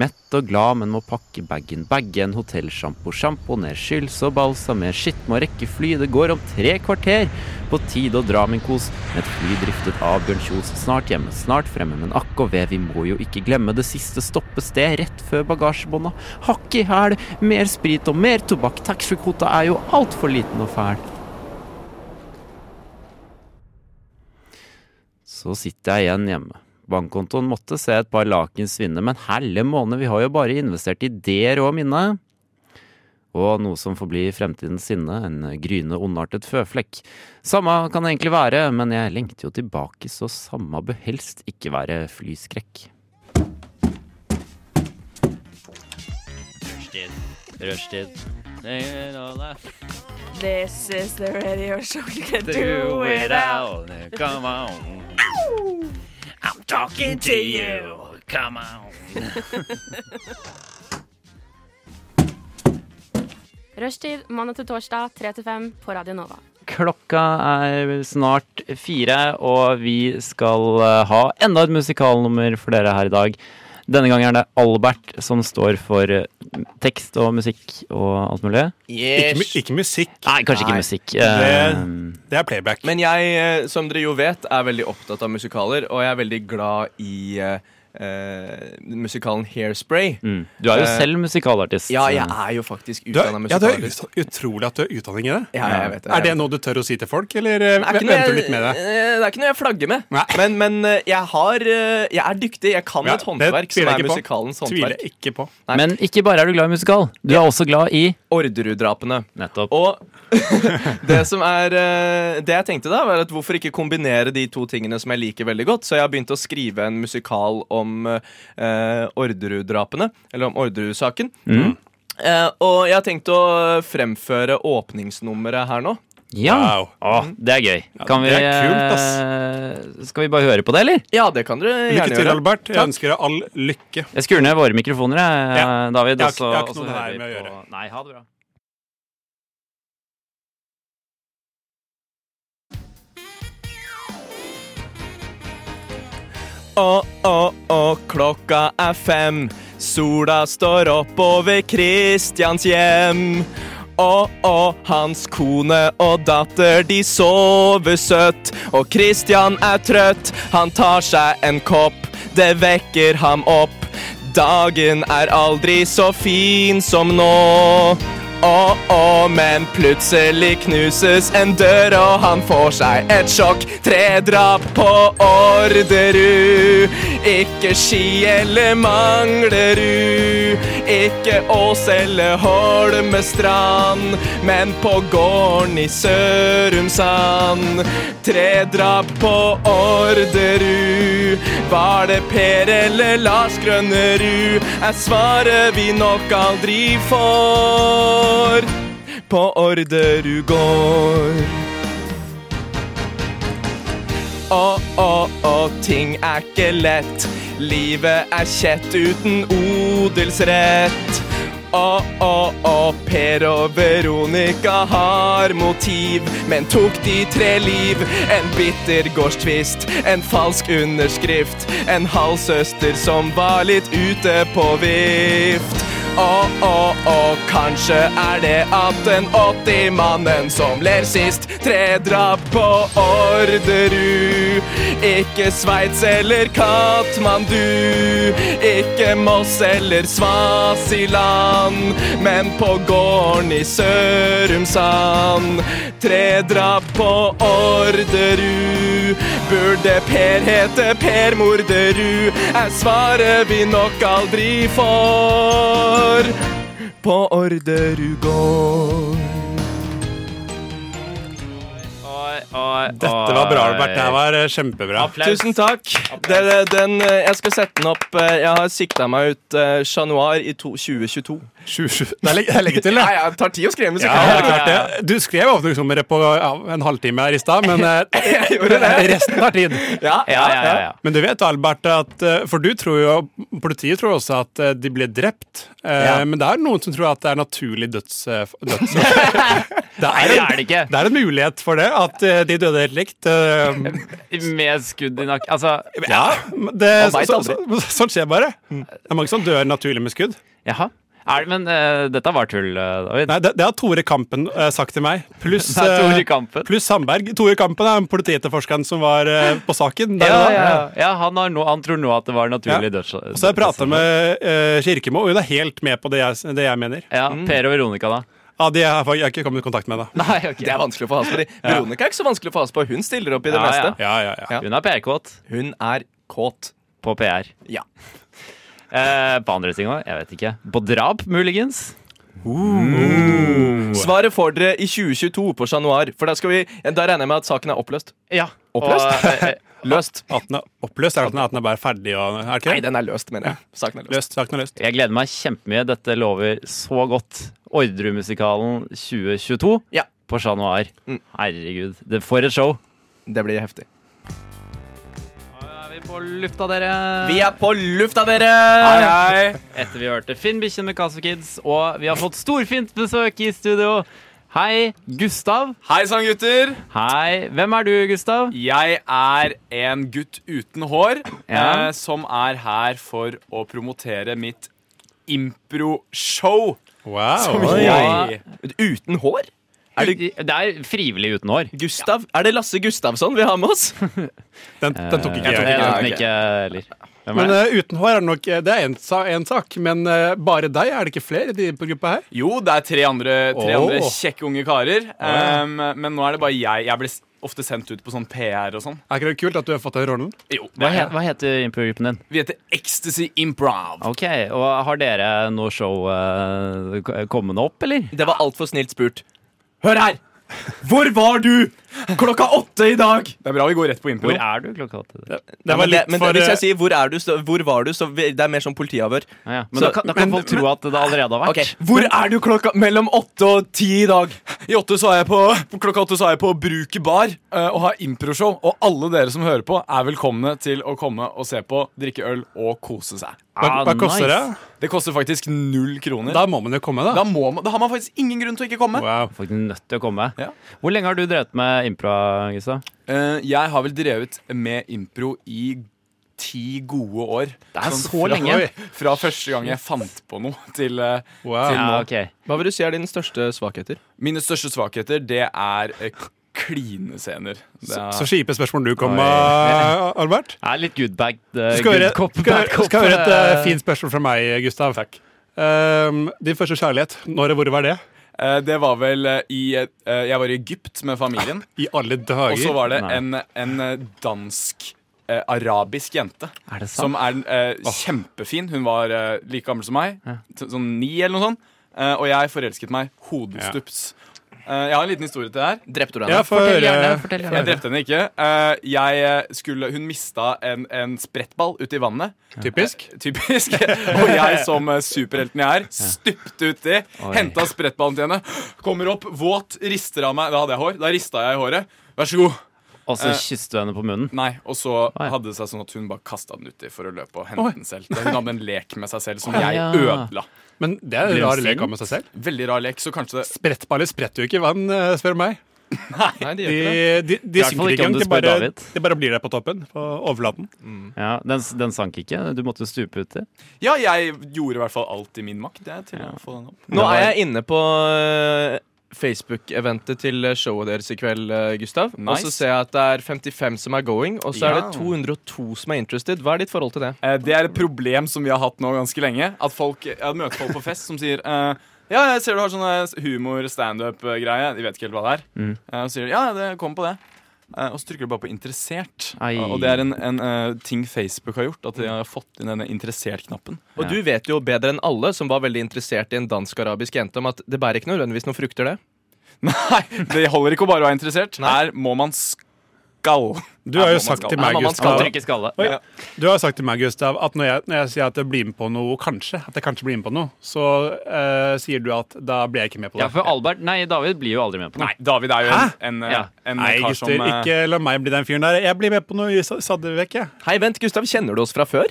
Mett og glad, men må pakke bagen. Bagge en hotellsjampo. Sjampo ned, skyls og balsamer. Shit, må rekke fly. Det går om tre kvarter. På tide å dra, min kos. Med et fly driftet av Bjørn Kjos. Snart hjemme, snart fremme. Men akk og ve, vi må jo ikke glemme det siste stoppested rett før bagasjebånda. Hakk i hæl. Mer sprit og mer tobakk. Taxfree-kvota er jo altfor liten og fæl. Så sitter jeg igjen hjemme. Bankkontoen måtte se et par laken svinne, men helle måned, vi har jo bare investert i det rå minnet. Og noe som forblir fremtidens sinne, en gryende ondartet føflekk. Samme kan det egentlig være, men jeg lengter jo tilbake, så samme bør helst ikke være flyskrekk. Rushtid, rushtid. This is the radio show you can Do it out, come on. I'm talking to you, come on. Rushtid mandag til torsdag 3 til 5 på Radio Nova. Klokka er snart fire, og vi skal eh, ha enda et musikalnummer for dere her i dag. Denne gangen er det Albert som står for eh, tekst og musikk og alt mulig. Ikke, Yes. mu- ikke musikk. Nei, kanskje Nei. ikke musikk. eh, Det er playback. Men jeg, eh, som dere jo vet, er veldig opptatt av musikaler, og jeg er veldig glad i eh, eh, musikalen Hairspray. mm. Du er jo Eh, selv musikalartist. Ja, jeg er jo faktisk du er, utdanna ja, det er musikalartist. ut- utrolig at du har utdanning i det. Ja, jeg vet det. Er jeg det vet noe du tør å si til folk, eller eh, Det er ikke noe venter jeg- du litt med det? eh, Det er ikke noe jeg flagger med. Nei. Men, men eh, jeg, har, eh, jeg er dyktig. Jeg kan Ja, et håndverk som tviler er jeg ikke på. musikalens Tviler håndverk. jeg ikke på. Nei. Men ikke bare er du glad i musikal, du er også glad i Orderud-drapene. Nettopp. Og <laughs> det som er eh, Det jeg tenkte da, var at hvorfor ikke kombinere de to tingene som jeg liker veldig godt? Så jeg har begynt å skrive en musikal om eh, Orderud-drapene. Eller om Orderud-saken. Mm. Eh, og jeg har tenkt å fremføre åpningsnummeret her nå. Ja. Wow. Mm. Å, det er gøy. Kan vi, det er kult, eh, skal vi bare høre på det, eller? Ja, det kan dere Lykke gjerne til, gjøre. Albert. Jeg ønsker deg all lykke. Jeg skrur ned våre mikrofoner, jeg, Ja. David. Jeg har og så- ikke- jeg har ikke og så noe det hører her vi med å på- Nei, ha det bra. Å, å, å, klokka er fem. Sola står opp over Kristians hjem. Å, å, hans kone og datter, de sover søtt. Og Kristian er trøtt, han tar seg en kopp. Det vekker ham opp. Dagen er aldri så fin som nå. Å, å, men plutselig knuses en dør, og han får seg et sjokk. Tre drap på Orderud. Ikke Ski eller Manglerud. Ikke Ås eller Holmestrand, men på gården i Sørumsand. Tre drap på Orderud. Var det Per eller Lars Grønnerud? Er svaret vi nok aldri får på Orderud gård. Å, å, å, ting er ikke lett. Livet er kjett uten odelsrett. Å, å, å, Per og Veronica har motiv, men tok de tre liv? En bitter gårdstvist, en falsk underskrift, en halvsøster som var litt ute på vift. Å, å, å, kanskje er det at den 80-mannen som ler sist, tre drap på Orderud. Ikke Sveits eller Katmandu, ikke Moss eller Svasiland, men på gården i Sørumsand. Tre drap på Orderud. Burde Per hete Per Morderud, er svaret vi nok aldri får på Orderud gård. Å, Dette var bra, Albert. Det her var eh, kjempebra. Applaus. Tusen takk. Det, det, den, eh, jeg skal sette den opp. eh, Jeg har sikta meg ut eh, januar i to, 2022. Det er leg- det er legge til, <laughs> Ja, det. ja, det tar tid å skrive musikk. Ja, det er klart det. Du skrev åpningsnummeret på ja, en halvtime her i stad, men <laughs> eh, resten tar tid. Ja, Ja, <laughs> ja, ja, ja. Men du vet, Albert, at eh, for du tror jo Politiet tror også at eh, de ble drept. Eh, Ja. Men det er noen som tror at det er naturlig døds, eh, f- <laughs> dødsårsak. det, er Nei, det en, er det ikke. det er en mulighet for det, at eh, de døde helt likt. eh, Med skudd i nakken. Altså, ja, men det, Man så, vet så, aldri. så, sånn skjer bare. Mm. Det er mange som dør naturlig med skudd. jaha. Er, det- men eh, dette var tull, eh, David. <laughs> Nei, Det, det har Tore Kampen eh, sagt til meg. Pluss Det er Tore eh, Kampen. pluss Sandberg. Tore Kampen er den politietterforskeren som var eh, på saken. der Ja, og da. ja, ja han, har nå, han tror nå at det var naturlig Ja. dødsårsak. Og så har jeg prata med eh, Kirkemo, og hun er helt med på det jeg, det jeg mener. ja, Per og Veronica, da. Ja, De har jeg ikke kommet i kontakt med, da. Nei, ok. Det er vanskelig å få has på. de. Veronica er ikke så vanskelig å få has på. Hun stiller opp i det Ja, ja. meste. Ja, ja, ja. Hun er PR-kåt Hun er kåt. på PR. Ja. Eh, på andre ting òg? Jeg vet ikke. På drap, muligens? Svaret får dere i 2022 på januar, for da, skal vi, da regner jeg med at saken er oppløst. Ja. Oppløst? Og, eh, Løst. At den er oppløst, er det at den er- at den er bare ferdig og er ikke Nei, det? den er løst, mener jeg. Saken er løst. Løst, saken er løst. jeg gleder meg kjempemye. Dette lover så godt. Ordremusikalen 2022 Ja. på Chat Noir. Herregud, det for et show. Det blir heftig. Er vi på lufta, dere? Vi er på lufta, dere! Hei, hei. Etter vi hørte Finn Bikkjen med Casper Kids, og vi har fått storfint besøk i studio. Hei, Gustav. Hei sann, gutter. Hei. Hvem er du, Gustav? Jeg er en gutt uten hår Ja. eh, som er her for å promotere mitt impro-show. Wow. Oi. Jeg- Uten hår? Er du... Det er frivillig uten hår. Gustav? Er det Lasse Gustavsson vi har med oss? Den, den tok ikke Jeg jeg. tok ok. den liksom ikke heller. Hvem Men er det? eh, uten hår er det nok eh, Det er én sa, en sak, men eh, bare deg? Er det ikke flere i de på gruppa her? Jo, det er tre andre, tre Åh. andre kjekke unge karer, em, men nå er det bare jeg. Jeg blir s- ofte sendt ut på sånn PR og sånn. Er ikke det kult at du har fått den rollen? Jo, det Hva, er he, jeg. hva heter improgruppen din? Vi heter Ecstasy Improv. Ok, og Har dere noe show eh, k- kommende opp, eller? <laughs> Det var altfor snilt spurt. Hør her! Hvor var du klokka åtte i dag? Det er bra vi går rett på impro. Hvor er du klokka åtte? Det men var det, litt men for hvis eh, jeg sier 'hvor er du', så, hvor var du, så vi- det er mer sånn politiavhør. Ja, ja. Men Så- da kan, da kan folk tro at det allerede har vært. Ok, Hvor er du klokka mellom åtte og ti i dag? I åtte så er jeg på, på klokka åtte så er jeg på Bruket bar eh, og har improshow. Og alle dere som hører på, er velkomne til å komme og se på, drikke øl og kose seg. Hva, Ah, hva koster det? nice. Det koster faktisk null kroner. Da må man jo komme, da. Da må man, da har man faktisk ingen grunn til å ikke komme. Wow. Folk er nødt til å komme. Ja. Hvor lenge har du drevet med impro, Gustav? Eh, jeg har vel drevet med impro i ti gode år. Sånn Det er så fra, lenge. Fra første gang jeg fant på noe, til, eh, Wow. til nå. Ja, ok. Hva vil du si er dine største svakheter? Mine største svakheter, det er eh, klinescener. Det er- Så kjipe spørsmål du kom med, Oi. Albert. Jeg er litt good bag, uh, Du skal høre, good cop, skal, bad cop. skal høre et eh, eh, fint spørsmål fra meg, Gustav. Takk. Um, din første kjærlighet, når og hvor var det? Eh, det var vel eh, i eh, Jeg var i Egypt med familien. I alle Og så dager. var det Ah, Nei. en, en eh, dansk eh, arabisk jente Er det sant? som er eh, kjempefin. Hun var eh, like gammel som meg, t- sånn ni eller noe sånt. Eh, og jeg forelsket meg hodestups. Eh, jeg har en liten historie til det her. Drepte du Ja, henne? få høre. Jeg drepte henne ikke. Eh, jeg eh, skulle, hun mista en, en sprettball ute i vannet. Typisk. Eh, Typisk. <laughs> Og jeg som eh, superhelten jeg er, stupte uti, henta sprettballen til henne. Kommer opp, våt, rister av meg Da hadde jeg hår. Da rista jeg i håret. Vær så god. Og så eh, kysset du henne på munnen. Nei, og så Oi. hadde det seg sånn at hun bare kasta den uti for å løpe og hente den selv. Hun hadde en lek med seg selv som Oi. jeg Ja. ødela. Men det er en Ble rar hun lek å sint? ha med seg selv. Veldig rar lek, så kanskje det Sprettballer spretter jo ikke i vann, eh, spør meg. Nei, de De, gjør ikke det. de, de hvert fall synker ikke ikke, om de du spør bare, David. de bare blir der på toppen. På overflaten. Ja, den, den sank ikke. Du måtte jo stupe uti. Ja, jeg gjorde i hvert fall alt i min makt jeg, til å få den opp. Nå er jeg inne på eh, Facebook-eventet til eh, showet deres i kveld, eh, Gustav. Og Nice. så ser jeg at det er 55 som er going, og så er Ja. det 202 som er interested. Hva er ditt forhold til det? Eh, Det er et problem som vi har hatt nå ganske lenge. At folk, Jeg møter folk på fest som sier eh, Ja, jeg ser du har sånne humor-standup-greie. De vet ikke helt hva det er. Eh, Og sier de, ja, det kom på det. Eh, Og så trykker du bare på 'interessert'. Ai. Og det er en, en eh, ting Facebook har gjort. At de har fått inn denne interessert-knappen. <laughs> Og du vet jo bedre enn alle som var veldig interessert i en dansk-arabisk jente, om at det bærer ikke nødvendigvis noen frukter, det. Nei, det holder ikke å bare være interessert. Her må man skal. Du har jo sagt til meg, Ja, man Skal Gustav, trykke skalle. Oi. Du har jo sagt til meg, Gustav, at når jeg, når jeg sier at jeg blir med på noe, kanskje, at jeg kanskje blir med på noe, så eh, sier du at da blir jeg ikke med på det. Ja, for Albert Nei, David blir jo aldri med på det. Nei, David er jo en, en, Ja. en Nei, kar som gutter, eh, ikke la meg bli den fyren der. Jeg blir med på noe i Sa- Saddervek, jeg. Hei, vent, Gustav, kjenner du oss fra før?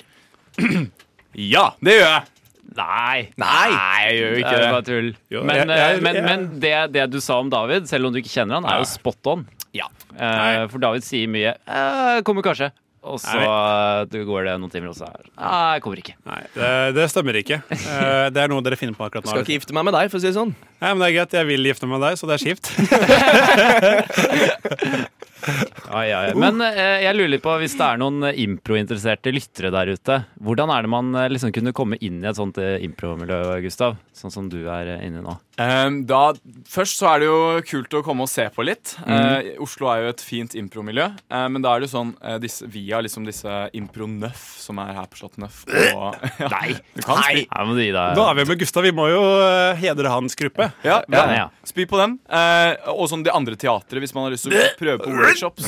Ja, det gjør jeg! Nei. Nei. jeg gjør jo Det er jo Eh, bare tull. Jo, men jeg- jeg- eh, men, jeg- men det, det du sa om David, selv om du ikke kjenner han, er jo spot on. Ja. Eh, for David sier mye eh, 'kommer kanskje', og så eh, det går det noen timer, og så er det, «Nei, jeg 'kommer ikke'. Nei, det, det stemmer <laughs> ikke. Eh, det er noe dere finner på akkurat nå. Skal ikke gifte meg med deg, for å si det <laughs> sånn. Nei, men det er greit, jeg vil gifte meg med deg, så det er kjipt. <laughs> Ai, ai, ai. Uh. Men eh, jeg lurer litt på, hvis det er noen eh, improinteresserte lyttere der ute, hvordan er det man eh, liksom kunne komme inn i et sånt eh, impromiljø, Gustav? Sånn som du er eh, inne i nå. Ehm, da, først så er det jo kult å komme og se på litt. Mhm. Eh, Oslo er jo et fint impromiljø. eh, men da er det jo sånn eh, disse, via liksom disse impro-nøff som er her på Slott Nøff. Og, Øh! <laughs> Nei! Du kan spy. Her må du gi deg. Da er vi med Gustav, vi må jo eh, hedre hans gruppe. Ja, Ja, ja. ja. Spy på dem. Eh, og sånn de andre teatret, hvis man har lyst til å Øh! prøve på workshops.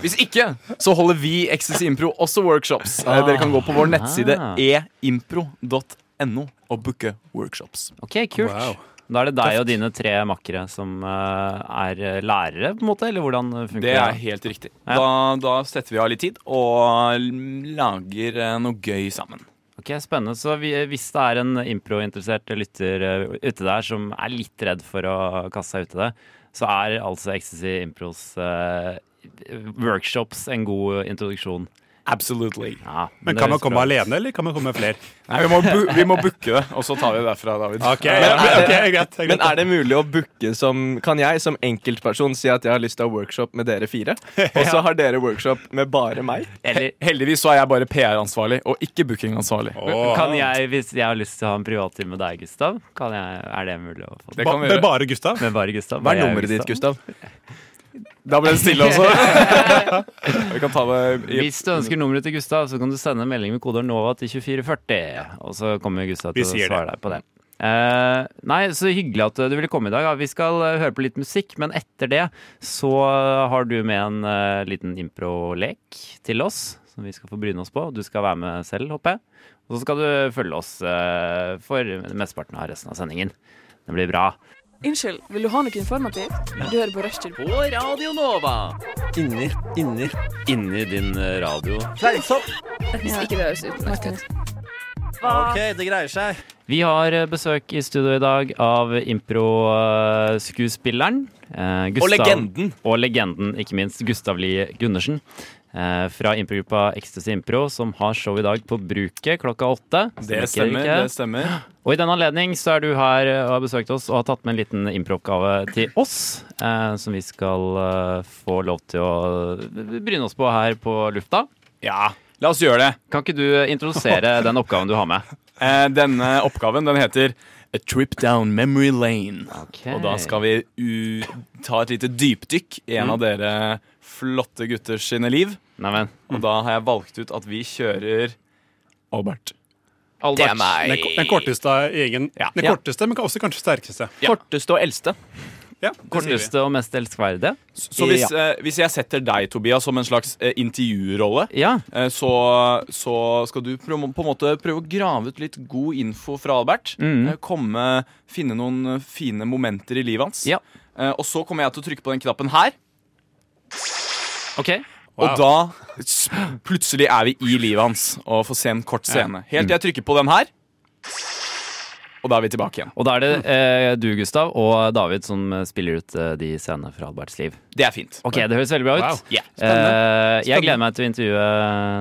Hvis ikke, så holder vi Ecstasy Impro også workshops. Eh, dere kan gå på vår nettside e Ah. eimpro.no og booke workshops. Ok, kult. Wow. Da er det deg og dine tre makkere som eh, er eh, lærere, på en måte? Eller hvordan eh, funker Det er helt riktig. Da, da setter vi av litt tid og lager eh, noe gøy sammen. Ok, Spennende. Så vi, eh, hvis det er en improinteressert lytter eh, ute der som er litt redd for å kaste seg ut i det, så er altså Ecstasy Impros eh, workshops en god introduksjon. Absolutely. Ja, Men det kan man høres bra komme ut. alene, eller kan man komme med flere? Nei, vi må, bu vi må booke det, og så tar vi det derfra, David. Ok, ok, greit. Men er det mulig å booke som Kan jeg som enkeltperson si at jeg har lyst til å ha workshop med dere <laughs> fire? Og så har dere workshop med bare meg? Eller Heldigvis så er jeg bare PR-ansvarlig, og ikke bookingansvarlig. kan jeg, hvis jeg har lyst til å ha en privattime med deg, Gustav, kan jeg, er det mulig å få det? Det kan vi Ba gjøre. bare Gustav? Med bare Gustav? Hva bare er jeg og nummeret ditt, Gustav? Da ble det stille også. vi kan ta det i Hvis du ønsker nummeret til Gustav, så kan du sende en melding med kodeord NOVA til 2440. Og så kommer Gustav til Vi å sier det. svare deg på det. Eh, nei, så hyggelig at du ville komme i dag. Ja, Vi skal eh, høre på litt musikk, men etter det så har du med en eh, liten impro-lek til oss. Som vi skal få bryne oss på. Du skal være med selv, håper jeg. Og så skal du følge oss eh, for mesteparten av resten av sendingen. Det blir bra. Unnskyld, vil du ha noe informativt? Du hører på Rushtid. Inni din eh, radio. Hvis ikke det høres utenlandsk ut. Vi har eh, besøk i studio i dag av impro-skuespilleren. eh, Gustav- Og legenden. Og legenden, ikke minst. Gustav Lie Gundersen. eh, Fra improgruppa Ecstasy Impro, som har show i dag på Bruket klokka åtte. Det Stemmer stemmer. ikke? det stemmer Og i den anledning så er du her eh, og har besøkt oss og har tatt med en liten impro-oppgave til oss, eh, som vi skal eh, få lov til å eh, bryne oss på her på lufta. Ja, la oss gjøre det. Kan ikke du <laughs> introdusere den oppgaven du har med? Eh, denne oppgaven den heter A Trip Down Memory Lane. Ok. Og da skal vi u ta et lite dypdykk i en av dere flotte gutters sine liv. Neimen, Og da har jeg valgt ut at vi kjører Albert. Den, Albert. ko- den korteste av gjengen. Den Ja. korteste, men også kanskje sterkeste. Korteste og eldste. Ja, det sier vi. Korteste og mest elskverdige. S- Så hvis, eh, hvis jeg setter deg, Tobias, som en slags eh, intervjurolle, Ja. eh, så, så skal du prø- på en måte prøve å grave ut litt god info fra Albert. Mm. Eh, komme, finne noen eh, fine momenter i livet hans. Ja. Eh, og så kommer jeg til å trykke på den knappen her. Ok. Og da s- plutselig er vi i livet hans og får se en kort scene. Helt til jeg trykker på den her. Og da er vi tilbake igjen. Og da er det eh, du, Gustav, og David som eh, spiller ut eh, de scenene fra Alberts liv. Det er fint. Ok, Det høres veldig bra ut. Yeah. Eh, jeg gleder meg til å intervjue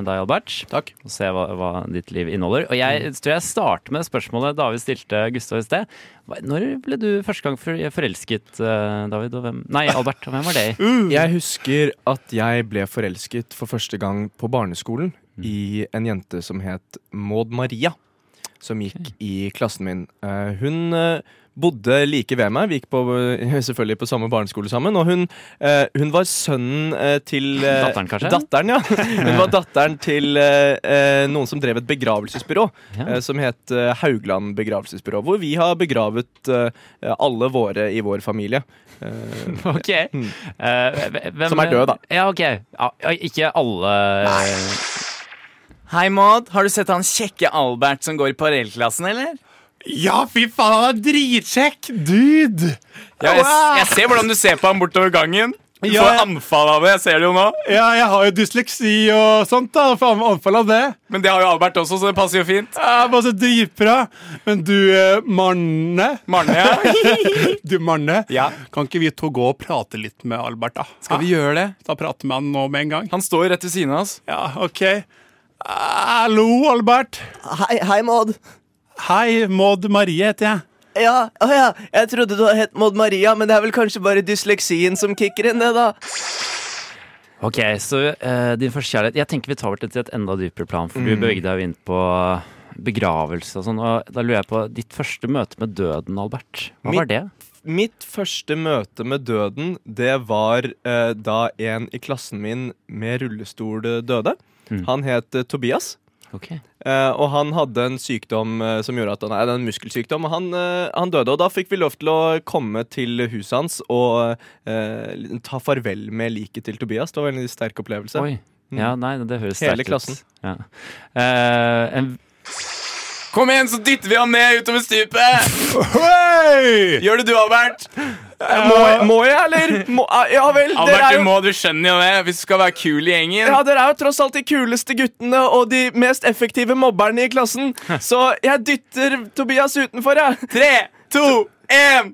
deg, Albert, Takk og se hva, hva ditt liv inneholder. Og jeg Mm. tror jeg starter med spørsmålet David stilte Gustav i sted. Hva- Når ble du første gang for- forelsket, eh, David? Og hvem? Nei, Albert. Og hvem var det <laughs> i? Jeg husker at jeg ble forelsket for første gang på barneskolen Mm. i en jente som het Maud Maria, som gikk i klassen min. Eh, Hun eh, bodde like ved meg. Vi gikk på, eh, <laughs> selvfølgelig på samme barneskole sammen. Og hun, eh, hun var sønnen eh, til eh, Datteren, kanskje? Datteren, <laughs> ja. Hun var datteren til eh, eh, noen som drev et begravelsesbyrå Ja. eh, som het eh, Haugland begravelsesbyrå. Hvor vi har begravet eh, alle våre i vår familie. Eh, Ok. Eh, hvem, Som er død, da. Ja, ok. Ja, ikke alle Hei, Maud. Har du sett han kjekke Albert som går i parallellklassen, eller? Ja, fy faen, han er dritkjekk! Dude! Ja, jeg, jeg ser hvordan du ser på ham bortover gangen. Du Ja, får jeg- anfall av det. Jeg ser det jo nå. Ja, jeg har jo dysleksi og sånt, da. og Faen, anfall av det. Men det har jo Albert også, så det passer jo fint. Ja, bare så dritbra. Men du, eh, Marne Marne, ja. Du, Marne. Ja. Ah. Kan ikke vi to gå og prate litt med Albert, da? Skal vi gjøre det? Da prater med han nå med en gang. Han står jo rett ved siden av oss. Ja, OK. Hallo, Albert. Hei, hei, Maud. Hei, Maud Marie heter jeg. Ja, å ja, jeg trodde du hadde hett Maud Maria, men det er vel kanskje bare dysleksien som kicker inn, det, da. Ok, så eh, din førstekjærlighet Jeg tenker vi tar det til et enda dypere plan, for Mm. du beveget deg jo inn på begravelse og sånn. Og da lurer jeg på ditt første møte med døden, Albert. Hva Mitt- var det? Mitt første møte med døden, det var eh, da en i klassen min med rullestol eh, døde. Han het eh, Tobias. Ok. Eh, og han hadde en sykdom eh, som gjorde at han hadde en muskelsykdom, og han, eh, han døde. Og da fikk vi lov til å komme til huset hans og eh, ta farvel med liket til Tobias. Det var en veldig sterk opplevelse. Oi. Mm. Ja, nei, det høres Hele sterkt ut. klassen. Ja. Eh, en, Kom igjen, så dytter vi ham ned utover stupet! Hei! Gjør det du, Albert. Må, jeg- må jeg, eller? Må, ah, ja vel, dere Albert, er du jo må, du skjønner jo det. Hvis du skal være kul i gjengen. ja, Dere er jo tross alt de kuleste guttene og de mest effektive mobberne i klassen. Så jeg dytter Tobias utenfor, jeg. Tre, to, én!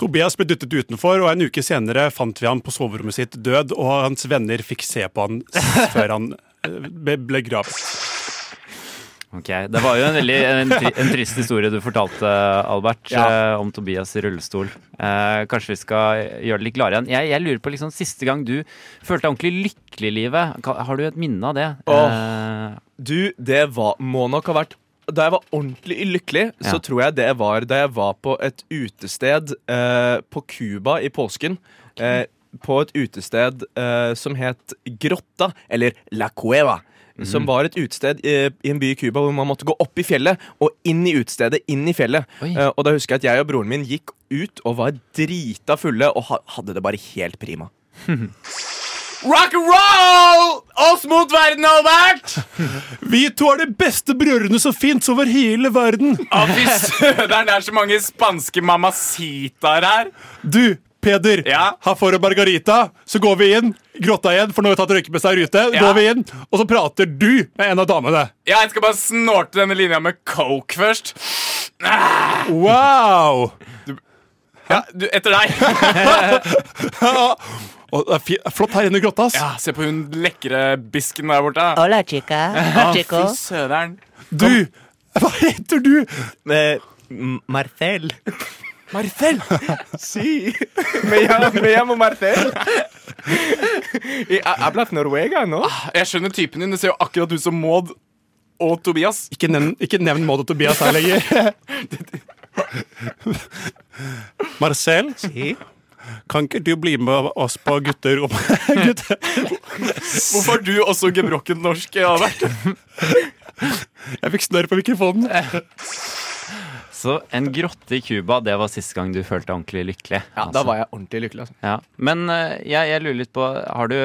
Tobias ble dyttet utenfor, og en uke senere fant vi han på soverommet sitt død, og hans venner fikk se på han <laughs> s- før han eh, ble, ble gravet. ok, Det var jo en veldig en, tri- en trist historie du fortalte, Albert, eh, om Tobias i rullestol. Eh, kanskje vi skal gjøre det litt gladere igjen. Jeg, jeg lurer på liksom, siste gang du følte deg ordentlig lykkelig i livet. Ka- Har du et minne av det? Eh, Du, det var, må nok ha vært Da jeg var ordentlig lykkelig, så Ja. tror jeg det var da jeg var på et utested eh, på Cuba i påsken. Eh, på et utested eh, som het Grotta, eller La Cueva. Mhm. Som var et utested i, i en by i Cuba hvor man måtte gå opp i fjellet og inn i utestedet. inn i fjellet. Oi. Eh, og da husker jeg at jeg og broren min gikk ut og var drita fulle og ha, hadde det bare helt prima. Rock and roll! Oss mot verden, Albert! Vi to er de beste brødrene som fins over hele verden. Å, fy søderen, det er så mange spanske mamacitaer her. Du, Peder, Ja? her får du Margarita. Så går vi inn. Grotta igjen, for nå har vi tatt røykemessa i rute. Ja. Går vi inn, Og så prater du med en av damene. Ja, jeg skal bare snorte denne linja med coke først. <laughs> Wow! Ja, du, etter deg. Og det er fi- flott her inne i grotta. ass. Ja, Se på hun lekre bisken der borte. Hola, chica. Å, fy søderen. Du, hva heter du? Marcel. Marcel. Sí. Me llamo, me llamo Marcel. I- ha- Hablas noruega, ¿no? Jeg skjønner typen din. Det ser jo akkurat ut som Maud og Tobias. Ikke nevn, ikke nevn Maud og Tobias her lenger. <laughs> Marcel, Sí. kan ikke du bli med oss på <laughs> gutterommet? Gutter. Hvorfor er du også gebrokkent norsk? Albert? Jeg fikk snørr på mikrofonen. så en grotte i Cuba, det var siste gang du følte deg ordentlig lykkelig. Ja, da var jeg ordentlig lykkelig. Altså. Ja. Men eh, jeg, jeg lurer litt på Har du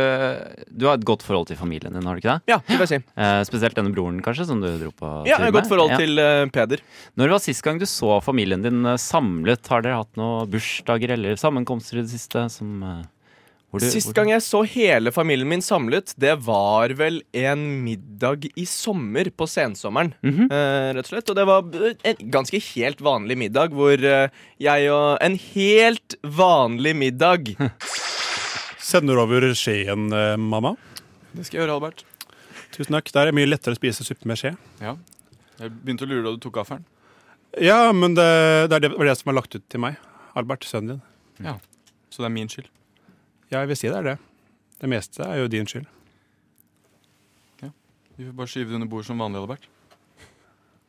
Du har et godt forhold til familien din, har du ikke det? Ja, det vil jeg si. Eh, spesielt denne broren, kanskje, som du dro på Ja, tur jeg har med? godt forhold Ja. til eh, Peder. Når var sist gang du så familien din eh, samlet? Har dere hatt noen bursdager eller sammenkomster i det siste? Som, eh, hvor du- Sist hvor- gang jeg så hele familien min samlet, det var vel en middag i sommer på sensommeren. eh, rett og slett. Og det var b- en ganske helt vanlig middag hvor eh, jeg og En helt vanlig middag. <laughs> Sender over skjeen, eh, mamma. Det skal jeg gjøre, Albert. Tusen takk. Der er det mye lettere å spise suppe med skje. Ja. Jeg begynte å lure da du tok gaffelen. Ja, men det, det er det, det var det som er lagt ut til meg. Albert, sønnen din. Så det er min skyld. Ja, jeg vil si det er det. Det meste er jo din skyld. Du får bare skyve det under bordet som vanlig, Albert.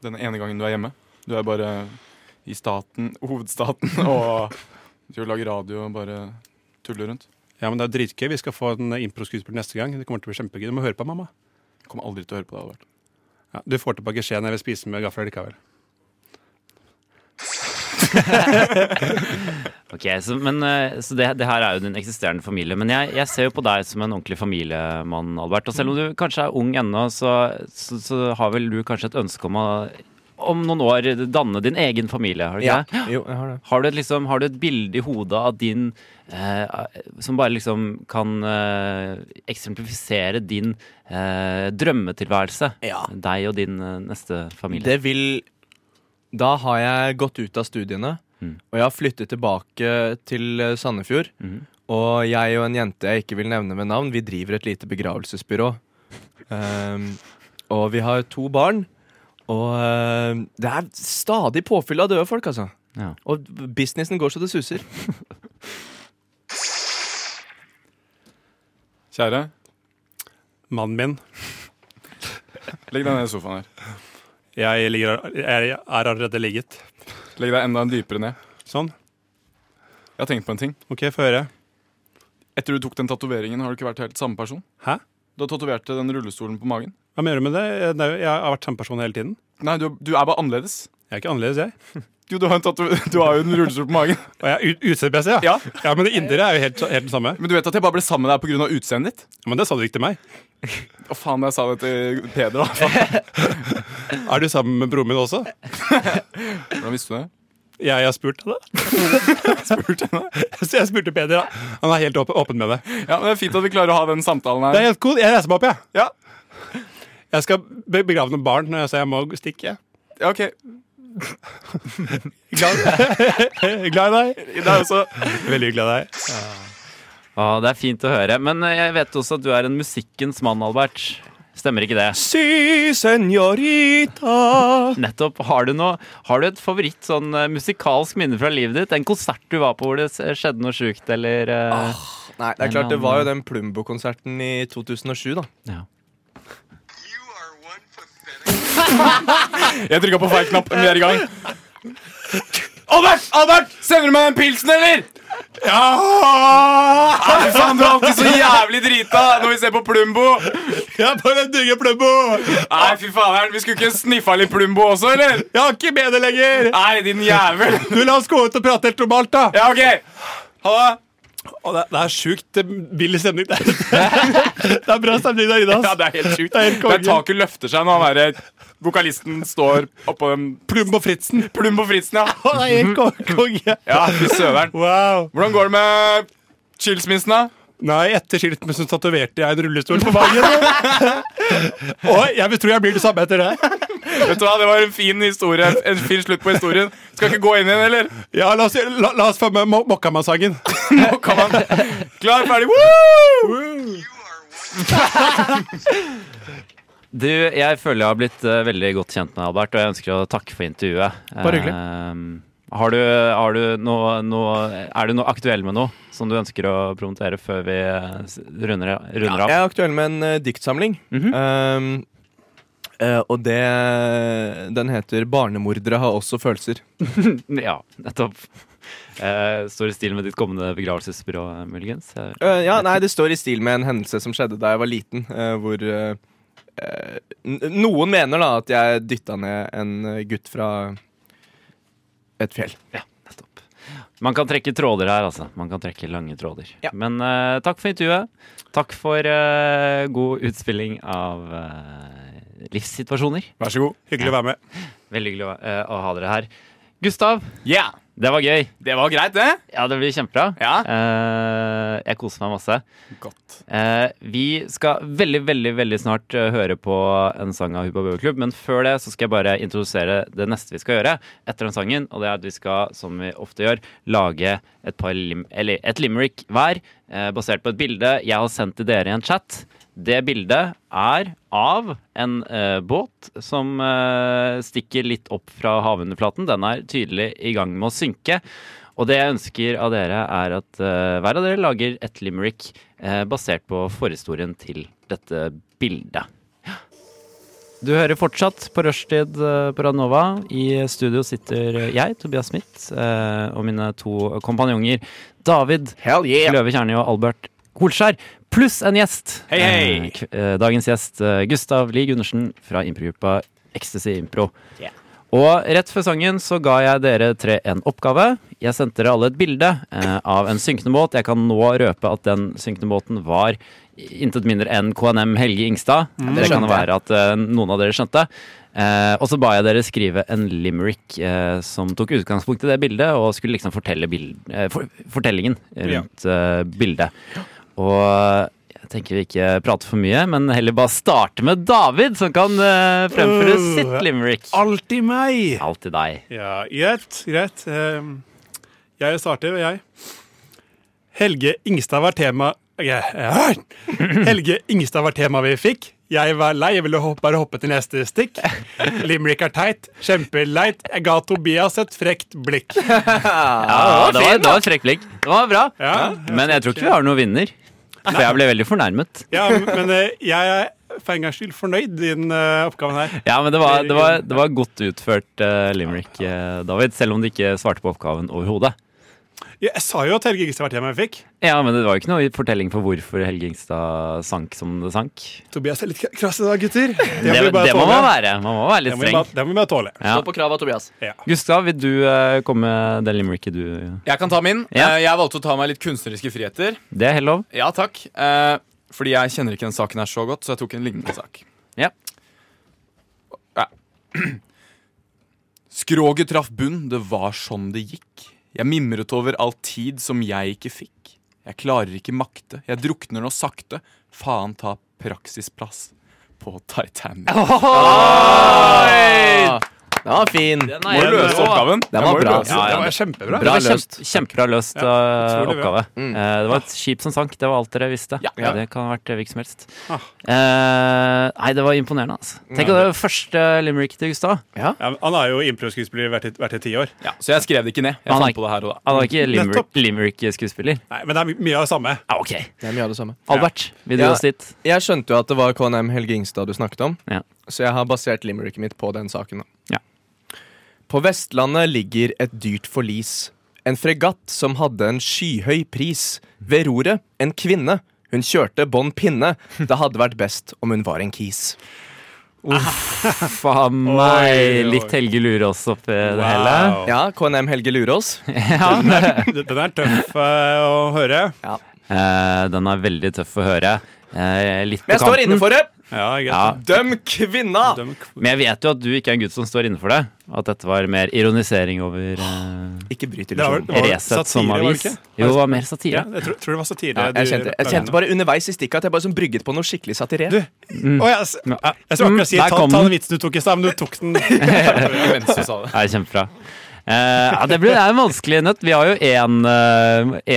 Denne ene gangen du er hjemme. Du er bare i staten, hovedstaten, <laughs> og skal lage radio og bare tulle rundt. Ja, men det er dritgøy. Vi skal få en impro-skuespiller neste gang. Det kommer til å bli kjempegøy. Du må høre på, mamma. Kommer aldri til å høre på deg, Albert. Ja, du får tilbake skjeen jeg vil spise med gaffel likevel. Ok, så, men, eh, så det, det her er jo din eksisterende familie. Men jeg, jeg ser jo på deg som en ordentlig familiemann, Albert. Og selv om du Mm. kanskje er ung ennå, så, så, så har vel du kanskje et ønske om å om noen år danne din egen familie, har du ikke det? Jo, jeg har det. Har du, et, liksom, har du et bilde i hodet av din eh, Som bare liksom kan eh, eksemplifisere din eh, drømmetilværelse? Ja. Deg og din eh, neste familie. Det vil Da har jeg gått ut av studiene, Mm. og jeg har flyttet tilbake til eh, Sandefjord. Mhm. Og jeg og en jente jeg ikke vil nevne med navn, vi driver et lite begravelsesbyrå. Ehm, og vi har to barn. Og ehm, det er stadig påfyll av døde folk, altså. Ja. Og businessen går så det suser. Kjære, Mannen min, legg deg ned i sofaen her. jeg, ligger, jeg er allerede ligget. Legg deg enda dypere ned. Sånn. Jeg har tenkt på en ting. OK, få høre. Etter du tok den tatoveringen, har du ikke vært helt samme person? Hæ? Du har tatovert den rullestolen på magen. Hva mener du med det? Jeg, det er jo- jeg har vært samme person hele tiden. Nei, du, du er bare annerledes. Jeg er ikke annerledes, jeg. Jo, du har, en tatu- <laughs> du har jo en rullestol på magen. Og jeg er ut- utseendemessig, ja. <laughs> Ja. ja. Men det indre er jo helt, helt det samme. Men du vet at jeg bare ble sammen med deg pga. utseendet ditt? Men det sa du ikke til meg. Å faen, jeg sa det til Peder. da Faen, Er du sammen med broren min også? Hvordan visste du det? Jeg har spurt <laughs> deg det. Så jeg spurte Peder. da. Han er helt åpen, åpen med det. Ja, men Det er fint at vi klarer å ha den samtalen Det er her. helt cool. Jeg reiser meg opp, jeg. Ja, Jeg skal be- begrave noen barn, så jeg må stikke. jeg. ja ok Glad i deg. Det er også Veldig glad i deg. Å, det er fint å høre. Men eh, jeg vet også at du er en musikkens mann, Albert. Stemmer ikke det? Si senorita Nettopp. Har du, noe, har du et favoritt sånn eh, musikalsk minne fra livet ditt? En konsert du var på hvor det s- skjedde noe sjukt, eller eh, Nei, det er klart det var jo den Plumbo-konserten i 2007, da. You are one pathetic. Jeg trykka på feil knapp. Vi er i gang. Albert! Albert! Sender du meg en pilsen, eller? Ja! Fy faen, du er alltid så jævlig drita når vi ser på Plumbo. Jeg bare digger Plumbo! Nei, fy faen, Vi skulle ikke sniffa litt Plumbo også, eller? Jeg har ikke med det lenger! Nei, din jævel. Du, la oss gå ut og prate helt normalt, da! Ja, OK. Ha det. Å, det, det er sjukt eh, billig stemning <laughs> der. det er bra stemning der inne. ass. Ja, det er helt sjukt. Det er helt konge. Der taket løfter seg når han derre vokalisten står oppå den Plumbo Fritzen. Plumbo Fritzen, ja. Å, det er helt ko- konge. Ja, fy søveren. Wow. Hvordan går det med skilsmissen, da? Nei, etter skilsmissen tatoverte jeg en rullestol på <laughs> magen. og jeg tror jeg blir det samme etter det. Vet du hva, Det var en fin historie. En fin slutt på historien. Skal ikke gå inn igjen, eller? Ja, La oss, la, la oss få med Mo- Mokkamann-sangen. Nå kan man Klar, ferdig, woo! You are one. Du, jeg føler jeg har blitt eh, veldig godt kjent med Albert, og jeg ønsker å takke for intervjuet. Bare hyggelig. Eh, har du, har du noe, noe Er du noe aktuell med noe som du ønsker å promotere før vi eh, s- runder, runder av? Mhm. Jeg er aktuell med en eh, diktsamling. Ehm, eh, og det Den heter 'Barnemordere har også følelser'. Ja, nettopp. <laughs> Eh, står i stil med ditt kommende begravelsesbyrå, eh, muligens? Jeg- Eh, ja, nei, det står i stil med en hendelse som skjedde da jeg var liten, eh, hvor eh, eh, n- Noen mener da at jeg dytta ned en eh, gutt fra et fjell. Nettopp. Man kan trekke tråder her, altså. Man kan trekke lange tråder. Ja. Men eh, takk for intervjuet. Takk for eh, god utspilling av eh, livssituasjoner. Vær så god. Hyggelig å være med. Veldig hyggelig å, eh, å ha dere her. Gustav, Ja, det var gøy. det var greit, det. Ja, det blir kjempebra. Ja. Eh, jeg koser meg masse. Godt. Eh, vi skal veldig, veldig veldig snart eh, høre på en sang av Hubba Bubba Klubb, men før det så skal jeg bare introdusere det neste vi skal gjøre etter den sangen, og det er at vi skal, som vi ofte gjør, lage et par lim eller et limerick hver, eh, basert på et bilde jeg har sendt til dere i en chat. Det bildet er av en eh, båt som eh, stikker litt opp fra havunderflaten. Den er tydelig i gang med å synke. Og det jeg ønsker av dere, er at eh, hver av dere lager et limerick eh, basert på forhistorien til dette bildet. Du hører fortsatt på rushtid eh, på Radnova. I studio sitter jeg, Tobias Smith, eh, og mine to kompanjonger David Hell yeah! Løve Kjerni og Albert Kolskjær, pluss en gjest. Hei, hei! Eh, k- eh, Dagens gjest, eh, Gustav Lie Gundersen fra improgruppa Ecstasy Impro. Og rett før sangen så ga jeg dere tre en oppgave. Jeg sendte dere alle et bilde eh, av en synkende båt. Jeg kan nå røpe at den synkende båten var intet mindre enn KNM Helge Ingstad. Mm. det kan jo være at eh, noen av dere skjønte. Eh, og så ba jeg dere skrive en limerick eh, som tok utgangspunkt i det bildet, og skulle liksom fortelle bild, eh, for, fortellingen rundt eh, bildet. Og eh, jeg tenker vi ikke prater for mye, men heller bare starte med David, som kan eh, fremføre Øh. sitt limerick. Alltid meg! Alltid deg. Ja, greit, greit. Ehm, Jeg starter, jeg. Helge Ingstad var tema ja, ja. <laughs> Helge Ingstad var tema vi fikk. Jeg var lei, jeg ville hoppe, bare hoppe til neste stikk. Limerick er teit, kjempeleit. Jeg ga Tobias et frekt blikk. Ja, det var, det var et frekt blikk. Det var bra. Ja, Men jeg tror ikke vi har noen vinner. For jeg ble veldig fornærmet. ja Men eh, jeg er for en gangs skyld fornøyd i den eh, oppgaven her. Ja, men det var, det var, det var godt utført eh, limerick, eh, David. Selv om du ikke svarte på oppgaven overhodet. Jeg sa jo at Helge Ingstad var tema vi fikk. Ja, men det var jo ikke noe fortelling for hvorfor Helge Ingstad sank som det sank. Tobias er litt krass i dag, gutter. Det, Det, vi det, bare må tåle. man være. Man må være Det litt må vi streng. bare- Det må vi bare tåle. Ja. Stå på krava, Tobias. Gustav, vil du eh, komme med den limericket du Jeg kan ta min. Ja. Eh, Jeg valgte å ta meg litt kunstneriske friheter. Det er helt lov. Ja, takk. Eh, Fordi jeg kjenner ikke den saken her så godt, så jeg tok en lignende sak. Ja. Ja. Skroget traff bunn, det var sånn det gikk. Jeg mimret over all tid som jeg ikke fikk. Jeg klarer ikke makte, jeg drukner nå sakte. Faen ta praksisplass på Titanic. Den var fin. Den Må du løse oppgaven? var bra. altså. Ja, ja, Det var kjempebra. Bra det var løst. kjempe, kjempebra løst eh, utrolig bra. oppgave. Eh, det var et skip som sank. Det var alt dere visste. Ja. Det kan ha vært hvilket som helst. Eh, nei, det var imponerende. Altså. Tenk at det var første limerick til Gustav. Ja, men han har jo impro-skuespiller vært i- vært i ti år. Ja, så jeg skrev det ikke ned. Jeg Han er- fant på det her og da. Han var ikke limerick- Nettopp. limerick-skuespiller. Nei, men det er my- mye av det samme. Ah, ok. Det er mye av det samme. Albert, vil du Ja. oss dit? Jeg skjønte jo at det var KNM Helge Ingstad du snakket om, Ja. så jeg har basert limericket mitt på den saken. da. Ja. På Vestlandet ligger et dyrt forlis. En fregatt som hadde en skyhøy pris. Ved roret en kvinne. Hun kjørte bånn pinne. Det hadde vært best om hun var en kis. Faen Oi, meg! oi. Litt Helge Lurås oppi det hele. Ja, KNM Helge <laughs> Lurås. <laughs> Den er tøff eh, å høre. Eh, den er veldig tøff å høre. Eh, litt på Men jeg står kanten. inne for det! Ja, greit. Ja, Døm kvinna! Døm- men jeg vet jo at du ikke er en gutt som står innenfor det. At dette var mer ironisering over Ikke bryt Det var- illusjonen. det eh, var Resett som satire, var det avis. ikke? Jo, det var mer Ja, satire. jeg tror, tror det var satire. Ja, jeg, du- kjente, jeg kjente bare underveis i stikket at jeg bare som brygget på noe skikkelig satirert. Å, jeg, s- jeg skulle akkurat si Mm. Der ta, kom ta den. den vitsen du tok i stad, men du tok <laughs> den. Ja, Mens du sa det. Det er kjempebra. Eh, ja, det, blir, det er en vanskelig nøtt. Vi har jo én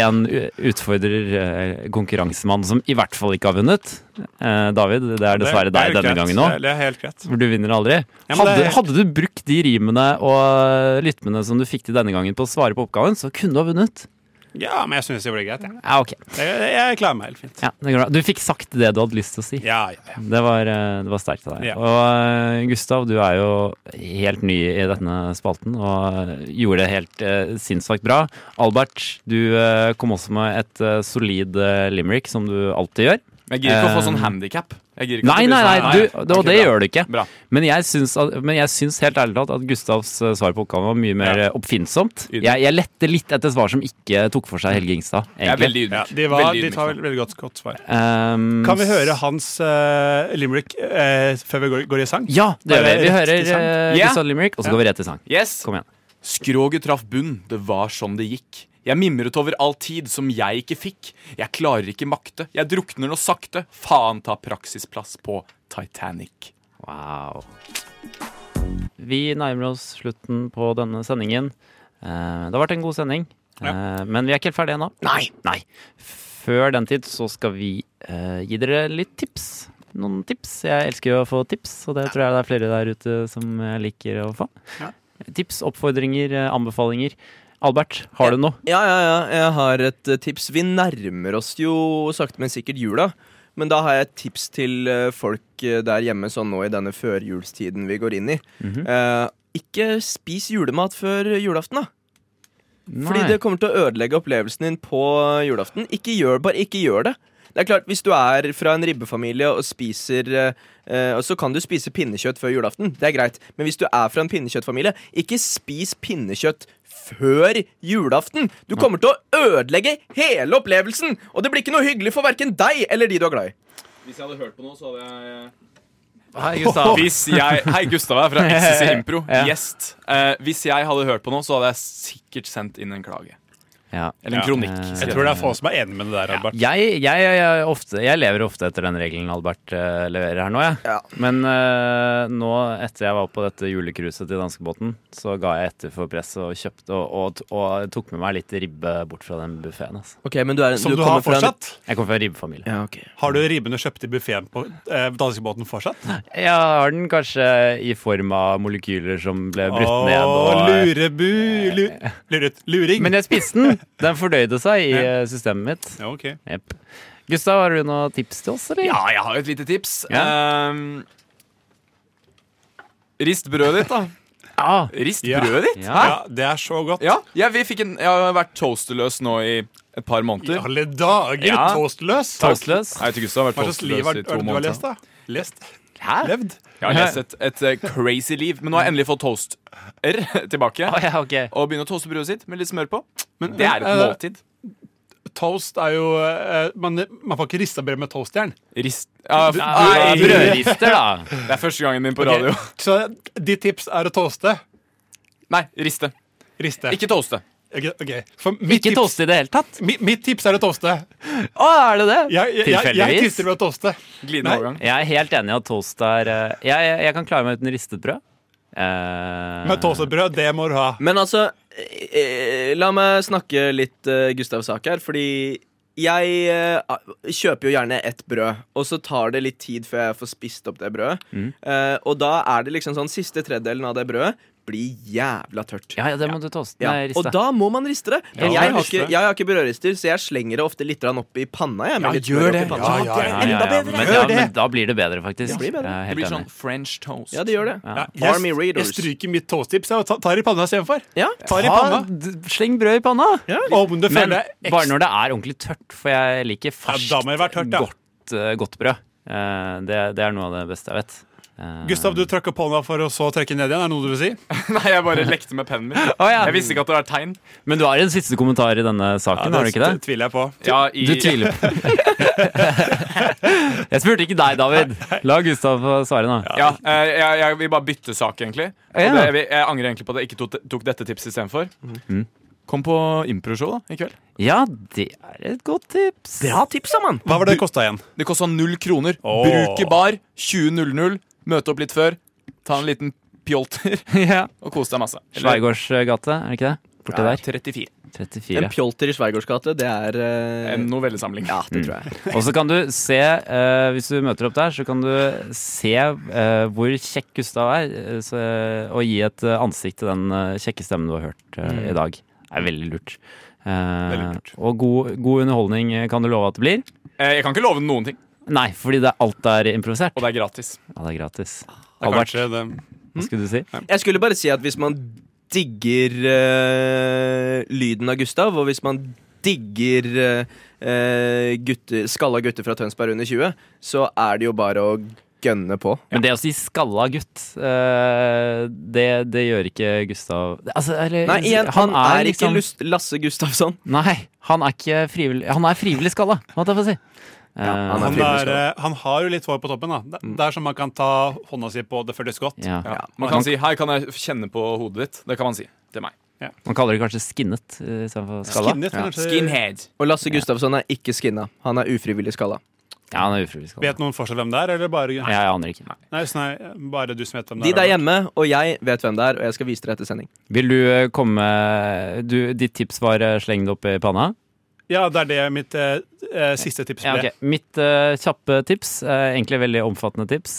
utfordrer, eh, konkurransemann, som i hvert fall ikke har vunnet. Eh, David, det er dessverre deg helt denne greit. gangen òg. Det er helt greit. For du vinner aldri. Ja, men det hadde, er helt- hadde du brukt de rimene og rytmene som du fikk til denne gangen på å svare på oppgaven, så kunne du ha vunnet. Ja, men jeg syns det ble greit. Ja. Ja, ok. Jeg, jeg klarer meg helt fint. Ja, det går bra. Du fikk sagt det du hadde lyst til å si. Ja, ja, ja. Det var, eh, det var sterkt av deg. Ja. Og eh, Gustav, du er jo helt ny i denne spalten og gjorde det helt eh, sinnssykt bra. Albert, du eh, kom også med et eh, solid eh, limerick, som du alltid gjør. Men jeg gidder ikke å få sånn Eh, handikap. Nei, nei, nei, du, og det gjør du ikke. Bra. Men jeg syns, at, men jeg syns helt ærlig talt at Gustavs eh, svar på oppgaven var mye mer Ja. eh, oppfinnsomt. Ydmyk. Jeg, jeg lette litt etter svar som ikke tok for seg Helge Ingstad. Jeg er egentlig. veldig ja ydmyk. de, var, veldig de ydmyk tar nå. veldig godt, godt svar. Ehm, Kan vi høre hans eh, limerick eh, før vi går, går i sang? Ja, det gjør vi. Bare Vi rett hører til sang. eh, Ja. Gustav Limerick, og så går vi rett til sang. Yes! Kom igjen. Skroget traff bunn, det var som det gikk. Jeg mimret over all tid som jeg ikke fikk. Jeg klarer ikke makte, jeg drukner nå sakte. Faen ta praksisplass på Titanic. Wow. Vi nærmer oss slutten på denne sendingen. Eh, Det har vært en god sending, Eh, men vi er ikke helt ferdige ennå. Nei. Nei. Før den tid så skal vi eh, gi dere litt tips. Noen tips. Jeg elsker jo å få tips, og det tror jeg det er flere der ute som eh, liker å få. Tips, oppfordringer, eh, anbefalinger. Albert, har du noe? Ja, ja, ja. Jeg har et eh, tips. Vi nærmer oss jo sakte, men sikkert jula. Men da har jeg et tips til eh, folk eh, der hjemme sånn nå i denne førjulstiden vi går inn i. Eh, ikke spis julemat før julaften, da. Fordi det kommer til å ødelegge opplevelsen din på julaften. Ikke gjør, bare ikke gjør det. Det er klart, Hvis du er fra en ribbefamilie og spiser eh, eh, og Så kan du spise pinnekjøtt før julaften. Det er greit. Men hvis du er fra en pinnekjøttfamilie, ikke spis pinnekjøtt før julaften! Du kommer til å ødelegge hele opplevelsen! Og det blir ikke noe hyggelig for verken deg eller de du er glad i. Hvis jeg hadde hørt på noe, så hadde jeg Hei, Gustav. <laughs> Hvis jeg, hei, Gustav <laughs> er fra XS Impro. Ja. Gjest. Eh, hvis jeg hadde hørt på noe, så hadde jeg sikkert sendt inn en klage. Ja. Eller en Ja. Eh, kronikk. Jeg tror det er få som er enig med det der, Albert. Jeg, jeg, jeg, ofte, jeg lever ofte etter den regelen Albert eh, leverer her nå, jeg. Ja. Men eh, nå, etter jeg var på dette julekruset til danskebåten, så ga jeg etter for presset og kjøpte og, og, og tok med meg litt ribbe bort fra den buffeen. Altså. Ok, men du er, Som du har kommer fra en- fortsatt? Jeg kommer fra en ribbefamilie. Ja, ok. Har du ribben du kjøpte i buffeen på eh, danskebåten fortsatt? Jeg har den kanskje i form av molekyler som ble brutt ned. Åh, Og, lurebu lu, luret, Luring! men jeg spiste <laughs> den! Den fordøyde seg i eh, systemet mitt. ja, ok. Jep. Gustav, har du noen tips til oss, eller? Ja, jeg har jo et lite tips. Ehm, rist brødet ditt, da. Ja. Rist Ja. brødet ditt? Ja. ja, det er så godt. Ja, jeg, vi fikk en, jeg har vært toasterløs nå i et par I måneder. alle dager! Ja. Toastløs! Toastløs. Jeg vet ikke, Gustav har vært Hva slags liv toasterløs har i er det to du har måneder. lest, da? Lest? Hæ? Levd? Jeg har lest et, et eh, crazy liv, men nå har jeg endelig fått toaster <laughs> tilbake. Å, Ah, ja, ok. Og begynner å toaste brødet sitt med litt smør på. det er et men, eh, måltid. Toast er jo eh, Man, man får ikke rista brød med toastjern. Rist ja, f- Nei, Nei, brødrister, <laughs> da. Det er første gangen min på radio. <laughs> Ok, Så ditt tips er å toaste. Nei, riste. Riste. Ikke toaste. Ok, ok. For mitt, Ikke tips, toaste i det hele tatt. mi, mitt tips er å toaste. Å, er det det? Jeg, jeg, jeg, jeg Tilfeldigvis. tipser med å toaste. Glidende overgang. Jeg er helt enig i at toast er eh, jeg, jeg, jeg kan klare meg uten ristet brød. Eh, Men toastet brød, det må du ha. Men altså, eh, eh, la meg snakke litt eh, Gustav sak her, fordi jeg eh, a- kjøper jo gjerne ett brød, og så tar det litt tid før jeg får spist opp det brødet. Mm. Eh, og da er det liksom sånn siste tredelen av det brødet blir jævla tørt. Ja, ja, det må du toaste. Ja, Nei, riste. Og da må man riste det. Men Ja, jeg, har riste. ikke, jeg har ikke brødrister, så jeg slenger det ofte litt grann opp i panna. Jeg, med litt smør gjør opp i det. panna. Ja, ja, ja, Det er ja, enda ja, bedre. men, Gjør ja, det. men da blir det bedre, faktisk. Ja, det blir bedre. Jeg er Det helt blir sånn enig. French toast. Ja, det gjør det. Ja, Army jeg, jeg readers. stryker mitt toasttips og tar i panna istedenfor. Ja. Tar i panna. sleng brød i panna! Og om du Men føler deg bare ekstra når det er ordentlig tørt, for jeg liker ja, ferskt, Da må det være tørt, ja. godt, eh, godt brød. Eh, det, det er noe av det beste jeg vet. Eh, Gustav, du trakk opp hånda for å så trekke ned igjen. Er det noe du vil si? <laughs> Nei, jeg bare lekte med pennen min. Å, ja. Jeg visste ikke at det var tegn. Men du har en siste kommentar i denne saken, har du ikke det? tviler jeg på. Ja, i, Du tviler på <laughs> Jeg spurte ikke deg, David. La Gustav få svare nå. Ja, eh, jeg, jeg vil bare bytte sak, egentlig. Og Ja. det, jeg, jeg angrer egentlig på at jeg ikke tok, tok dette tipset istedenfor. Kom på improshow da, i kveld. Ja, det er et godt tips. Bra tipsa, mann! Hva var det det kosta igjen? Det kosta null kroner. Åh. Bruk i bar. 20.00. Møte opp litt før. Ta en liten pjolter <laughs> <laughs> Ja. og kos deg masse. Eller- Sveigårdsgate, er det ikke det? Borte Ja, der. 34. En 34. pjolter i Sveigårds gate, det er eh, En novellesamling. Ja, det tror jeg. Og så kan du se, eh, hvis du møter opp der, så kan du se eh, hvor kjekk Gustav er, eh, så, og gi et eh, ansikt til den eh, kjekke stemmen du har hørt eh, i dag. Det er veldig lurt. Eh, Veldig lurt. Og god, god underholdning eh, kan du love at det blir. Eh, Jeg kan ikke love noen ting, Nei, fordi det, alt er improvisert. og det er gratis. Ja, det er gratis. Det er Albert, kanskje det. hva Mm. skulle du si? Jeg skulle bare si at hvis man digger eh, lyden av Gustav, og hvis man digger eh, eh, gutter, skalla gutter fra Tønsberg under 20, så er det jo bare å gønne på. Men det å si 'skalla gutt', eh, det, det gjør ikke Gustav altså, eller, Nei, igjen, Eh, han, er, liksom- ikke Lust Lasse Gustavsson. Nei, han er ikke frivillig Han er frivillig skalla, hva skal jeg få si? Eh, han er Han, frivillig er, eh, han har jo litt hår på toppen. da Det, det er som man kan ta hånda si på, det føles godt. Mm. Eh, ja. Ja. Man kan si 'hei, kan jeg kjenne på hodet ditt'? Det kan man si til meg. Man kaller det kanskje skinnet eh, istedenfor skalla. Skinnet, men kanskje- Skinhead. Og Lasse Gustavsson er ikke skinna. Han er ufrivillig skalla. Ja, han er ufrivillig skalla. Vet noen forskjell hvem det er, eller bare Ja, jeg aner ikke. Nei, så nei, bare du som vet hvem De det der er. hjemme og jeg vet hvem det er, og jeg skal vise dere etter sending. Vil du eh, komme du, Ditt tips var eh, 'sleng det opp i panna'? Ja, det er det mitt eh, eh, siste tips Ja, ble. ok. Mitt eh, kjappe tips, eh, egentlig veldig omfattende tips,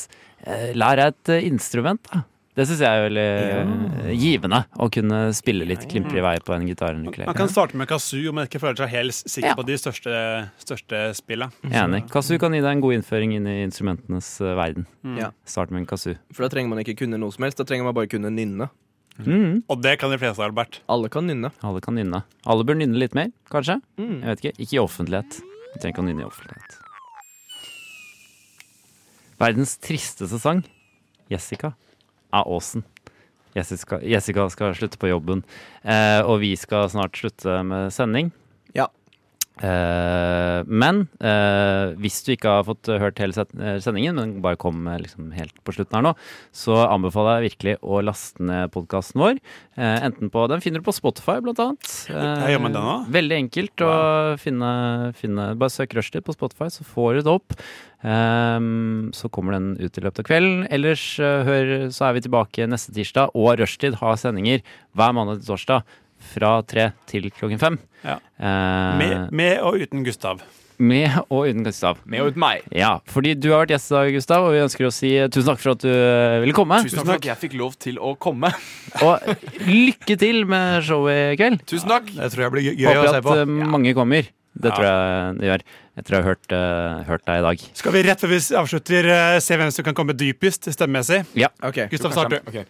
eh, lær deg et eh, instrument, da. Det syns jeg er veldig eh, givende. Å kunne spille litt klimper i vei på en gitar eller en Man ukulele. kan starte med kazoo om man ikke føler seg helt sikker Ja. på de største, største spilla. Enig. Kazoo kan gi deg en god innføring inn i instrumentenes eh, verden. Mm. Ja. Start med en kazoo. For da trenger man ikke kunne noe som helst. Da trenger man bare kunne nynne. Mm. Og det kan de fleste, Albert. Alle kan nynne. Alle kan nynne. Alle bør nynne litt mer, kanskje. Jeg Mm. vet ikke. Ikke i offentlighet. Du trenger ikke å nynne i offentlighet. Verdens tristeste sang, 'Jessica', av Aasen. Jessica, Jessica skal slutte på jobben, eh, og vi skal snart slutte med sending. Ja. Eh, men eh, hvis du ikke har fått hørt hele set- eh, sendingen, men bare kom eh, liksom helt på slutten her nå, så anbefaler jeg virkelig å laste ned podkasten vår. Eh, enten på Den finner du på Spotify, blant annet. Eh, Ja, gjør man det nå? Veldig enkelt å finne, finne Bare søk Rushdie på Spotify, så får du det opp. Ehm, så kommer den ut i løpet av kvelden. Ellers eh, hør, så er vi tilbake neste tirsdag, og Rushtid har sendinger hver mandag til torsdag fra tre til klokken fem. Ja. Eh, Med, med og uten Gustav. med og uten Gustav. Med og uten meg. Ja, fordi du har vært gjest i dag, Gustav, og vi ønsker å si tusen takk for at du eh, ville komme. Tusen takk for at jeg fikk lov til å komme. <laughs> Og lykke til med showet i kveld. Tusen takk. Det tror jeg blir gøy Håper at eh, mange kommer. Det Ja. tror jeg det gjør. Jeg tror jeg har hørt, eh, hørt deg i dag. Skal vi rett før vi avslutter eh, se hvem som kan komme dypest stemmemessig? Ok. Gustav, start du. Ok.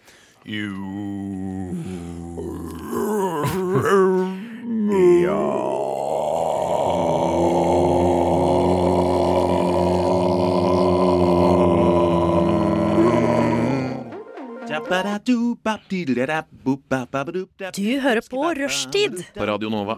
Du hører på Rushtid På Radio Nova.